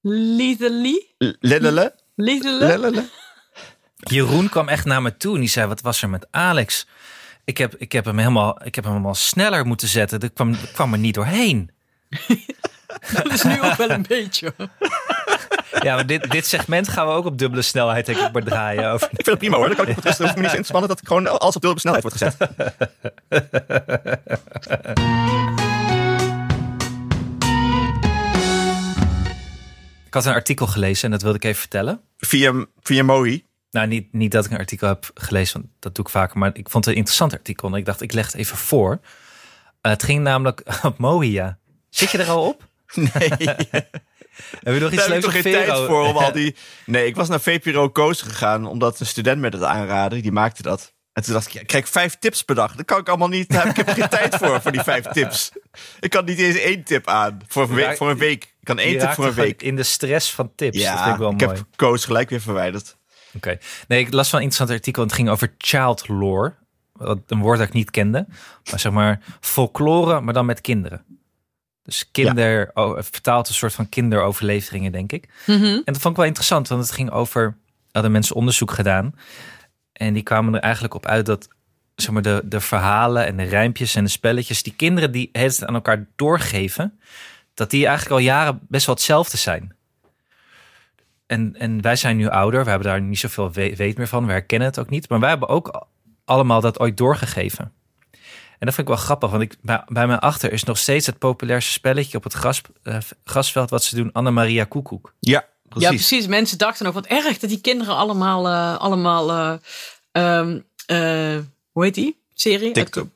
Lethally? L- Lelele? Lethally? Lelele? Jeroen kwam echt naar me toe en die zei: Wat was er met Alex? Ik heb, ik heb, hem, helemaal, ik heb hem helemaal sneller moeten zetten. Dat kwam, dat kwam er niet doorheen. Dat is nu ook wel een beetje. hoor. Ja, maar dit, dit segment gaan we ook op dubbele snelheid denk ik, maar draaien. Over. Ik vind het prima hoor. Dan kan ik op het rest hoef ik me niet in te spannen dat ik gewoon alles op dubbele snelheid wordt gezet. Ik had een artikel gelezen en dat wilde ik even vertellen. Via, via Mooi. Nou, niet, niet dat ik een artikel heb gelezen, want dat doe ik vaker. Maar ik vond het een interessant artikel en ik dacht, ik leg het even voor. Eh, het ging namelijk op Mohia. Zit je er al op? Nee, Hebben we nog iets daar heb ik leuks toch geen op Vero? tijd voor om al die... Nee, ik was naar VPRO Koos gegaan omdat een student me dat aanraadde. Die maakte dat. En toen dacht ik, ja, ik krijg vijf tips per dag. Dat kan ik allemaal niet. Ik heb er geen tijd voor, voor die vijf tips. Ik kan niet eens één tip aan. Voor een week. Voor een week. Ik kan Je één tip raakte voor een gewoon week. In de stress van tips. dat vind Ja, ik wel ik mooi. heb Koos gelijk weer verwijderd. Oké. Nee, ik las wel een interessant artikel. en Het ging over child lore. Wat- Een woord dat ik niet kende. Maar zeg maar folklore, maar dan met kinderen. Dus kinder, oh, het vertaalt een soort van kinderoverleveringen, denk ik. En dat vond ik wel interessant, want het ging over... Hadden mensen onderzoek gedaan. En die kwamen er eigenlijk op uit dat... Zeg maar, de, de verhalen en de rijmpjes en de spelletjes... die kinderen die het aan elkaar doorgeven... dat die eigenlijk al jaren best wel hetzelfde zijn. En, en wij zijn nu ouder, we hebben daar niet zoveel we- weet meer van, we herkennen het ook niet. Maar wij hebben ook a- allemaal dat ooit doorgegeven. En dat vind ik wel grappig, want ik, bij, bij mij achter is nog steeds het populairste spelletje op het gras, eh, grasveld wat ze doen, Anna-Maria Koekoek. Ja, Ja, precies. Mensen dachten ook wat erg dat die kinderen allemaal, eh, allemaal eh, ehm, eh, hoe heet die serie? Uit, TikTok.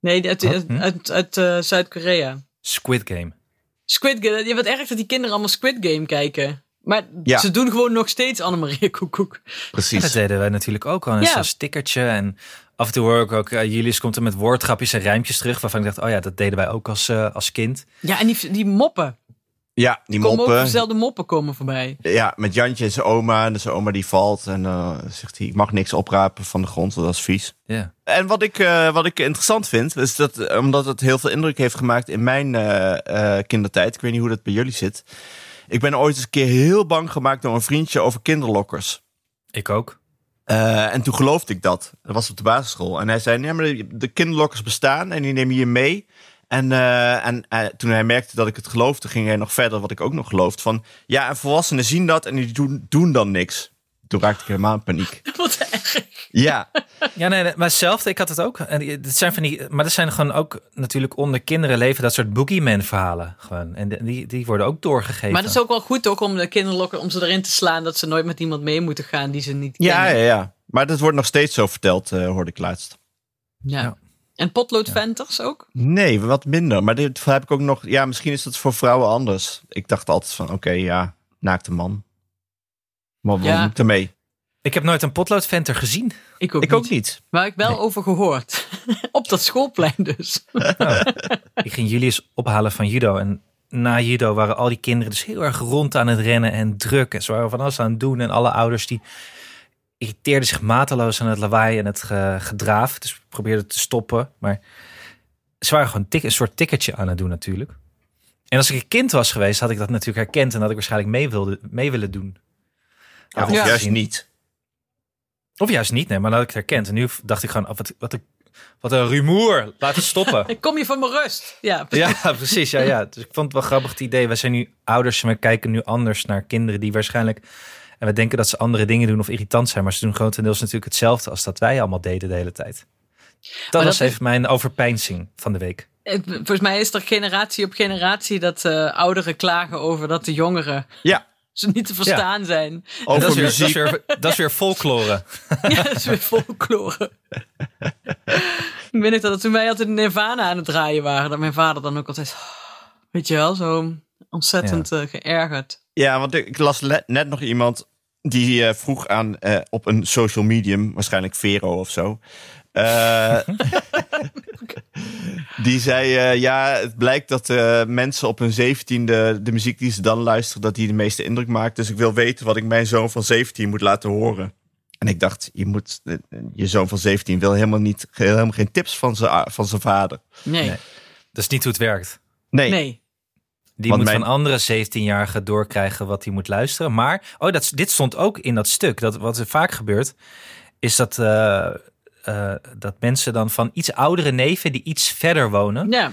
nee, uit, Huh? uit, uit, uit, eh, Zuid-Korea. Squid Game. Squid Game. Ja, wat erg dat die kinderen allemaal Squid Game kijken. Maar Ja. ze doen gewoon nog steeds Annemarie Koekoek. En Precies. dat deden wij natuurlijk ook al. En Ja. Zo'n stickertje en af en toe hoor ik ook, eh, Julius komt er met woordgrapjes en rijmpjes terug, waarvan ik dacht, oh ja, dat deden wij ook als, eh, als kind. Ja, en die, die moppen. Ja, die Komen ook moppen. dezelfde moppen komen voorbij. Ja, met Jantje en zijn oma. En dus zijn oma die valt. En eh, zegt hij, ik mag niks oprapen van de grond, want dat is vies. Ja. En wat ik, eh, wat ik interessant vind, is dat eh, omdat het heel veel indruk heeft gemaakt in mijn eh, eh, kindertijd. Ik weet niet hoe dat bij jullie zit. Ik ben ooit eens een keer heel bang gemaakt door een vriendje over kinderlokkers. Ik ook. Eh, en toen geloofde ik dat. Dat was op de basisschool. En hij zei, nee, maar de- de kinderlokkers bestaan en die nemen je mee. En, eh, en eh, toen hij merkte dat ik het geloofde, ging hij nog verder, wat ik ook nog geloofde. Van, ja, en volwassenen zien dat en die doen, doen dan niks. Toen raakte ik helemaal in paniek. Wat erg. Ja, Ja, nee, nee, maar zelfde, ik had het ook. En die- dit zijn van die, maar er zijn gewoon ook natuurlijk onder kinderen leven dat soort boogeyman verhalen. Gewoon. En de- die, die worden ook doorgegeven. Maar dat is ook wel goed ook om de kinderlokken om ze erin te slaan dat ze nooit met iemand mee moeten gaan die ze niet ja, kennen. ja, ja. Maar dat wordt nog steeds zo verteld, eh, hoorde ik laatst. Ja. Ja. En potloodventers ook? Nee, wat minder. Maar dit heb ik ook nog... Ja, misschien is dat voor vrouwen anders. Ik dacht altijd van, oké, ja, naakte man. Maar wat Ja. moet ik daarmee? Ik heb nooit een potloodventer gezien. Ik ook, Ik niet. ook niet. Waar ik wel over gehoord. Op dat schoolplein dus. Ik ging Julius ophalen van judo. En na judo waren al die kinderen dus heel erg rond aan het rennen en druk. En ze waren van alles aan het doen. En alle ouders die irriteerden zich mateloos aan het lawaai en het ge- gedraaf. Dus we probeerden te stoppen. Maar ze waren gewoon tik, een soort tikkertje aan het doen natuurlijk. En als ik een kind was geweest, had ik dat natuurlijk herkend. En had ik waarschijnlijk mee, wilde, mee willen doen. Ja, of Ja. juist niet. Of juist niet, nee, maar dat ik het herkend. En nu dacht ik gewoon, oh, wat, wat, een- wat een rumoer. Laat het stoppen. Ik kom je van mijn rust. Ja, Ja, precies. Ja, ja. Dus ik vond het wel grappig het idee. We zijn nu ouders en we kijken nu anders naar kinderen die waarschijnlijk. En we denken dat ze andere dingen doen of irritant zijn. Maar ze doen grotendeels natuurlijk hetzelfde als dat wij allemaal deden de hele tijd. Dat dat was is- even mijn overpeinzing van de week. Het- volgens mij is er generatie op generatie dat eh, ouderen klagen over dat de jongeren Ja, ze niet te verstaan zijn. En dat, over is weer, dat, is muziek. weer, dat is weer folklore. Ja, dat is weer folklore. ik weet nog dat toen wij altijd Nirvana aan het draaien waren, dat mijn vader dan ook altijd, "Oh, weet je wel, zo ontzettend eh, geërgerd. Ja, want ik ik las le- net nog iemand die eh, vroeg aan eh, op een social medium, waarschijnlijk Vero of zo. eh, die zei, eh, ja, het blijkt dat eh, mensen op hun zeventiende de muziek die ze dan luisteren, dat die de meeste indruk maakt. Dus ik wil weten wat ik mijn zoon van 17 moet laten horen. En ik dacht, je, moet, eh, je zoon van 17 wil helemaal, niet, helemaal geen tips van zijn a- van zijn vader. Nee, Nee. nee. Dat is niet hoe het werkt. Nee, Die Want moet mijn- van andere 17-jarigen doorkrijgen wat hij moet luisteren. Maar, oh, dat, dit stond ook in dat stuk. Dat, wat er vaak gebeurt, is dat, eh, eh, dat mensen dan van iets oudere neven die iets verder wonen. Ja,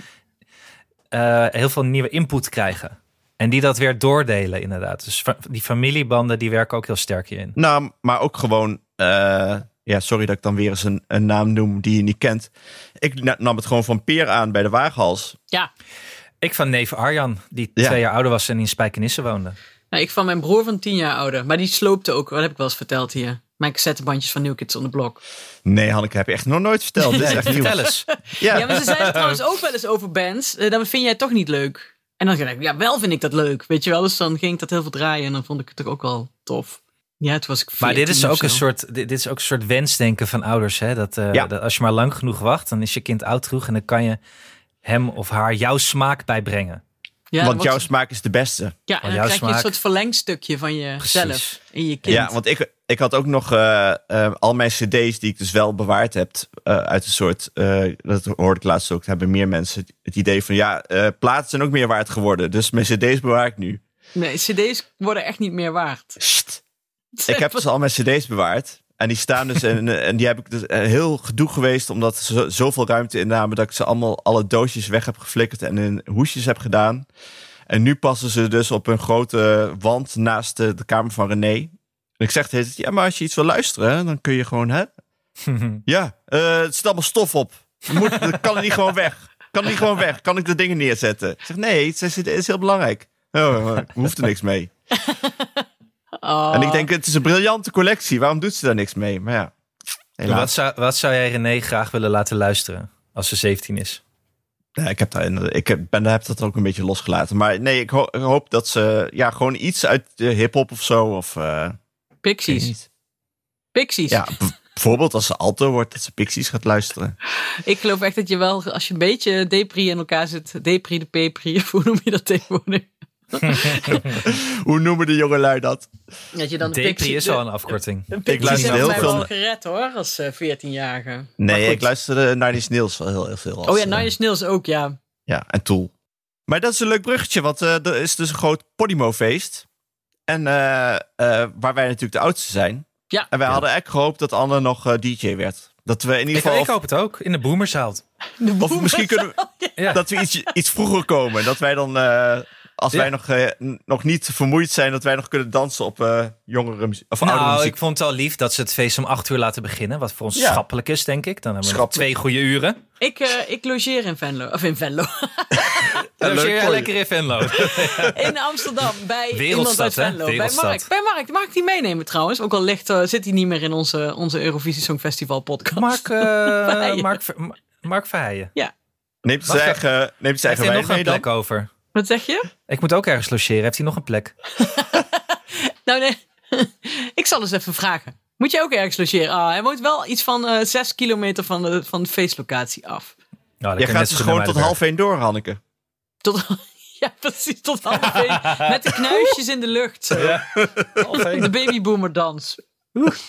eh, heel veel nieuwe input krijgen. En die dat weer doordelen, inderdaad. Dus fa- die familiebanden die werken ook heel sterk hierin. Nou, maar ook gewoon. eh, ja, sorry dat ik dan weer eens een, een naam noem die je niet kent. Ik na- nam het gewoon van Peer aan bij de Waaghals. ja. Ik van neef Arjan, die Ja. twee jaar ouder was en in Spijkenisse woonde. Nou, ik van mijn broer van tien jaar ouder, maar die sloopte ook, dat heb ik wel eens verteld hier. Mijn cassettebandjes van New Kids on the Block. Nee, Hanneke, heb je echt nog nooit verteld. Dit is echt nieuw. Vertel eens. Ja, Ja, maar ze zeiden trouwens ook wel eens over bands. eh, Dan vind jij het toch niet leuk. En dan dacht ik, ja, wel vind ik dat leuk. Weet je wel, dus dan ging ik dat heel veel draaien. En dan vond ik het toch ook wel tof. Ja, toen was ik Maar dit 14 is, of ook zo. een soort, dit, dit is ook een soort wensdenken van ouders. Hè? Dat, eh, Ja. dat als je maar lang genoeg wacht, dan is je kind oud genoeg. En dan kan je hem of haar jouw smaak bijbrengen. Ja, want dan jouw wordt- smaak is de beste. ja, en dan jouw krijg je smaak- een soort verlengstukje van jezelf. Precies. In je kind. Ja, want ik, ik had ook nog eh, eh, al mijn cd's die ik dus wel bewaard heb. eh, uit een soort, eh, dat hoorde ik laatst ook, hebben meer mensen het idee van... ja, eh platen zijn ook meer waard geworden. Dus mijn cd's bewaar ik nu. Nee, cd's worden echt niet meer waard. Sst. Ik heb dus al mijn cd's bewaard. En die staan dus en, en die heb ik dus eh, heel gedoe geweest omdat ze zo- zoveel ruimte innamen dat ik ze allemaal alle doosjes weg heb geflikkerd en in hoesjes heb gedaan. En nu passen ze dus op een grote wand naast de, de kamer van René. En ik zeg tegen ja, maar als je iets wil luisteren, hè, dan kun je gewoon, hè? ja, eh het zit allemaal stof op. Moet, dat kan het niet gewoon weg? Kan het niet gewoon weg? Kan ik de dingen neerzetten? Ik zeg, nee, het is, het is heel belangrijk. Oh, maar hoeft er niks mee. Oh. En ik denk, het is een briljante collectie. Waarom doet ze daar niks mee? Maar ja, Wat helaas. zou, wat zou jij René graag willen laten luisteren als ze 17 is? Ja, ik heb, daar, inderdaad- ik heb, ben, heb dat ook een beetje losgelaten. Maar nee, ik, ho- ik hoop dat ze ja, gewoon iets uit de hip-hop of zo. Of, eh, ik weet Pixies. niet. Pixies. Ja, b- bijvoorbeeld als ze alto wordt, dat ze Pixies gaat luisteren. Ik geloof echt dat je wel, als je een beetje depri in elkaar zit. Depri de pepri, hoe noem je dat tegenwoordig? Hoe noemen de jongelui dat? Dat je dan de Depri Pixies- is de- al een afkorting. Ik luister hebben heel mij veel wel naar- gered hoor, als eh, 14-jarige. Maar Nee, goed. ik luisterde naar die Snails wel heel, heel veel. als, Oh ja, eh, Nine Inch Nails ook, ja. Ja, en Tool. Maar dat is een leuk bruggetje, want eh, er is dus een groot Podimo-feest. En eh, eh, waar wij natuurlijk de oudste zijn. Ja. En wij hadden echt gehoopt dat Anne nog eh, DJ werd. Dat we in ieder Ik, geval. ik hoop het ook, in de boomerzaal. De of, of boemers. misschien kunnen we, Ja. dat we iets, iets vroeger komen. Dat wij dan, eh, als Ja. wij nog, eh, n- nog niet vermoeid zijn, dat wij nog kunnen dansen op eh jongere muziek. Of oudere Nou, muziek. ik vond het al lief dat ze het feest om acht uur laten beginnen. Wat voor ons Ja. schappelijk is, denk ik. Dan hebben we nog Schappelijk. twee goede uren. Ik, eh, ik logeer in Venlo. Of in Venlo. Dan leuk voor zit je je. lekker in Venlo. In Amsterdam. Bij iemand Wereldstad, uit hè? Venlo. Bij Wereldstad. Mark. Bij Mark. Die mag ik die meenemen trouwens. Ook al ligt, eh, zit hij niet meer in onze, onze Eurovisie Songfestival podcast. Mark, eh, Verheijen. Mark, Ver- Ma- Mark Verheijen. neemt Wacht zijn eigen, neemt zijn Heeft eigen hij wijn nog een mee dan? plek over? Wat zeg je? Ik moet ook ergens logeren. Heeft hij nog een plek? Nou nee. ik zal eens even vragen. Moet je ook ergens logeren? Ah, hij woont wel iets van eh zes kilometer van de, van de feestlocatie af. Nou, dan Je kun net gaat zo dus goed gewoon naar tot half Muidenberg. één door, Hanneke. Tot, ja, precies. Tot half één. Met de knuisjes in de lucht. zo. De babyboomerdans. dans.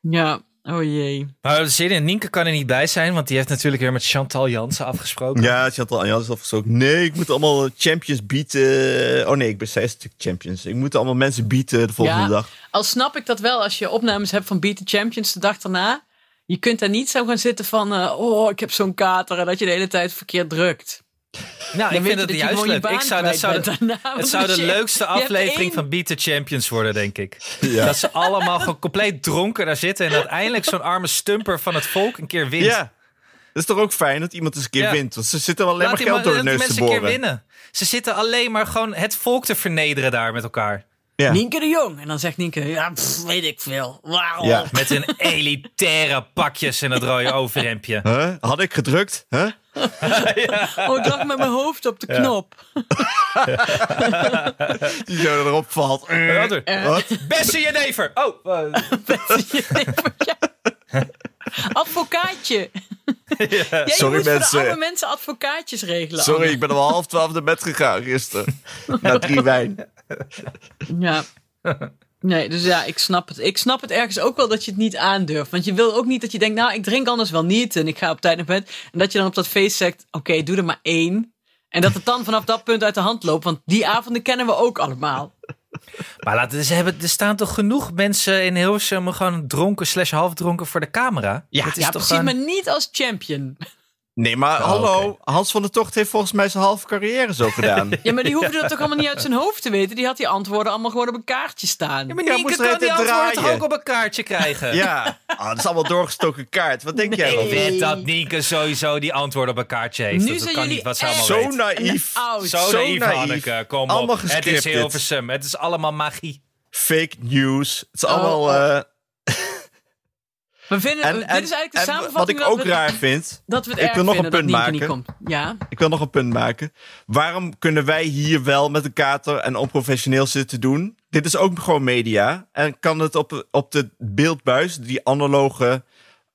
Ja, Oh jee. Maar Nou, zin in Nienke kan er niet bij zijn, want die heeft natuurlijk weer met Chantal Jansen afgesproken. Ja, Chantal Anjan is afgesproken. Nee, ik moet allemaal champions bieten. Oh nee, ik ben zij is natuurlijk champions. Ik moet allemaal mensen bieten de volgende Ja. dag. Al snap ik dat wel als je opnames hebt van Beat the Champions de dag daarna. Je kunt daar niet zo gaan zitten van, eh, oh, ik heb zo'n kater en dat je de hele tijd verkeerd drukt. Nou, Dan ik weet vind je het dat je juist gewoon je leuk. baan Ik zou, kwijt dat zou, bent de- daarna, want het zou als de je- leukste je hebt aflevering één- van Beat the Champions worden, denk ik. Dat ze allemaal gewoon compleet dronken daar zitten en uiteindelijk zo'n arme stumper van het volk een keer wint. Ja. Dat is toch ook fijn dat iemand eens een keer Ja. wint. Want ze zitten wel alleen Laat maar die, geld ma- door de laat die neus te mensen een keer boren. winnen. Ze zitten alleen maar gewoon het volk te vernederen daar met elkaar. Ja. Nienke de Jong. En dan zegt Nienke, ja, pff, weet ik veel. Wauw. Ja. Met hun elitaire pakjes en dat rode overhemdje. Huh? Had ik gedrukt? Huh? Oh, ik lag met mijn hoofd op de knop. Die zo erop valt. Een ander. Wat? Beste jenever! Oh, eh, Ja. Advocaatje. Ja, je Sorry, moet voor de mensen. arme mensen advocaatjes regelen. Sorry, ik ben om half twaalf naar bed gegaan gisteren. Na drie wijn. Anne. Ja. Nee, dus ja, ik snap het. Ik snap het ergens ook wel dat je het niet aandurft. Want je wil ook niet dat je denkt, nou, ik drink anders wel niet en ik ga op tijd naar bed. En dat je dan op dat feest zegt, oké, doe er maar één. En dat het dan vanaf dat punt uit de hand loopt. Want die avonden kennen we ook allemaal. Maar laten, ze hebben, er staan toch genoeg mensen in Hilversum gewoon dronken slash halfdronken voor de camera? Ja, Dat is Ja, toch precies, gewoon- maar niet als champion. Nee, maar Ah, Oh, hallo. Hans van der Tocht heeft volgens mij zijn halve carrière zo gedaan. Ja, maar die hoefde dat toch allemaal niet uit zijn hoofd te weten? Die had die antwoorden allemaal gewoon op een kaartje staan. Ja, maar Ja, Nienke moest er kan even die antwoorden toch draaien. ook op een kaartje krijgen? ja. Ah, dat is allemaal doorgestoken kaart. Wat denk jij Ik wel? weet dat Nienke sowieso die antwoorden op een kaartje Nu heeft. dat dat zijn kan jullie niet wat ze echt allemaal Zo weet. naïef. En oud. Zo, Zo naïef, naïef. Hanneke. Kom Allemaal op. Het is gescripted. Hilversum. Het is allemaal magie. Fake news. Het is Oh, allemaal... oh. eh, We vinden, en, dit en- is eigenlijk de en samenvatting wat ik dat ook we- raar vind... Dat we het Ik erg wil nog een vinden punt dat Nienke niet komt. Ja. Ik wil nog een punt maken. Waarom kunnen wij hier wel met een kater en onprofessioneel zitten doen? Dit is ook gewoon media. En kan het op, op de beeldbuis, die analoge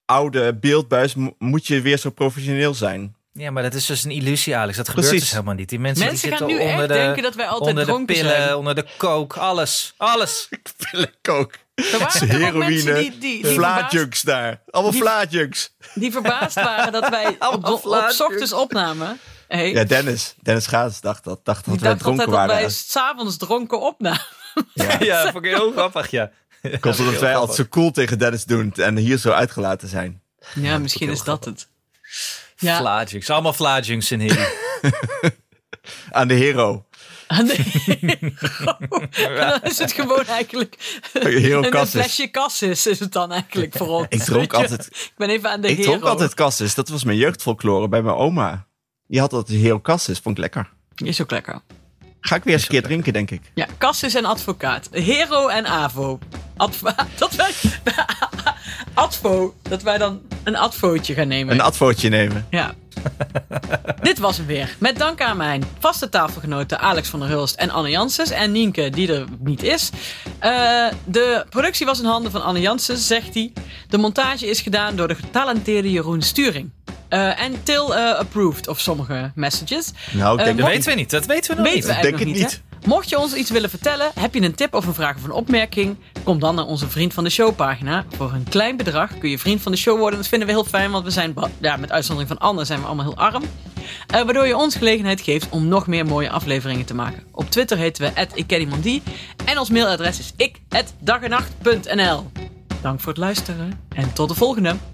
oude beeldbuis, mo- moet je weer zo professioneel zijn? Ja, maar dat is dus een illusie, Alex. Dat gebeurt Precies. dus helemaal niet. Die mensen, Mensen die gaan zitten nu echt onder de, denken dat wij altijd onder de dronken pillen, zijn. onder de coke, alles. Alles. Wil ik ook. Er waren toch ook mensen Heroïne, die, die, die, verbaasd, vlaatjunks daar. Allemaal vlaatjunks. die verbaasd waren dat wij op, op, vlaatjes. ochtends opnamen. Hey, Ja, Dennis. Dennis Gaas dacht dat. Dacht dat ik we dacht altijd dronken dat wij waren. s'avonds dronken opnamen. Ja, vond ik heel grappig, ja. Komt omdat wij altijd zo cool tegen Dennis doen en hier zo uitgelaten zijn. Ja, misschien is dat het. Ja. Vlaadjunks. Allemaal vlaadjunks in hier. Aan de hero. Ah, nee. En dan is het gewoon eigenlijk... Hero een- Een Cassis. flesje kassis is het dan eigenlijk voor ons. Ik weet dronk je. altijd Ik ben even aan de Ik hero. dronk altijd cassis. Dat was mijn jeugdfolklore bij mijn oma. Die had altijd heel cassis. Vond ik lekker. Is ook lekker. Ga ik weer eens een keer drinken, denk ik. Ja, Cassis en advocaat. Hero en Avo. Adva- dat wij, advo. Dat wij dan een advootje gaan nemen. Een advootje nemen. ja. Dit was hem weer. Met dank aan mijn vaste tafelgenoten Alex van der Hulst en Anne Janssens. En Nienke, die er niet is. Eh, de productie was in handen van Anne Janssens, zegt hij. De montage is gedaan door de getalenteerde Jeroen Sturing. Eh, en Til eh, approved of sommige messages. Nou, ik Eh, denk Dat dat weten we niet. Dat weten we nog weten we Ik niet. denk eigenlijk nog het niet. hè? Mocht je ons iets willen vertellen, heb je een tip of een vraag of een opmerking, kom dan naar onze Vriend van de Show pagina. Voor een klein bedrag kun je Vriend van de Show worden. Dat vinden we heel fijn, want we zijn, ba- ja, met uitzondering van Anne, zijn we allemaal heel arm. Eh, waardoor je ons gelegenheid geeft om nog meer mooie afleveringen te maken. Op Twitter heten we ikkenniemandie en ons mailadres is ik@dagenacht.nl. Dank voor het luisteren en tot de volgende.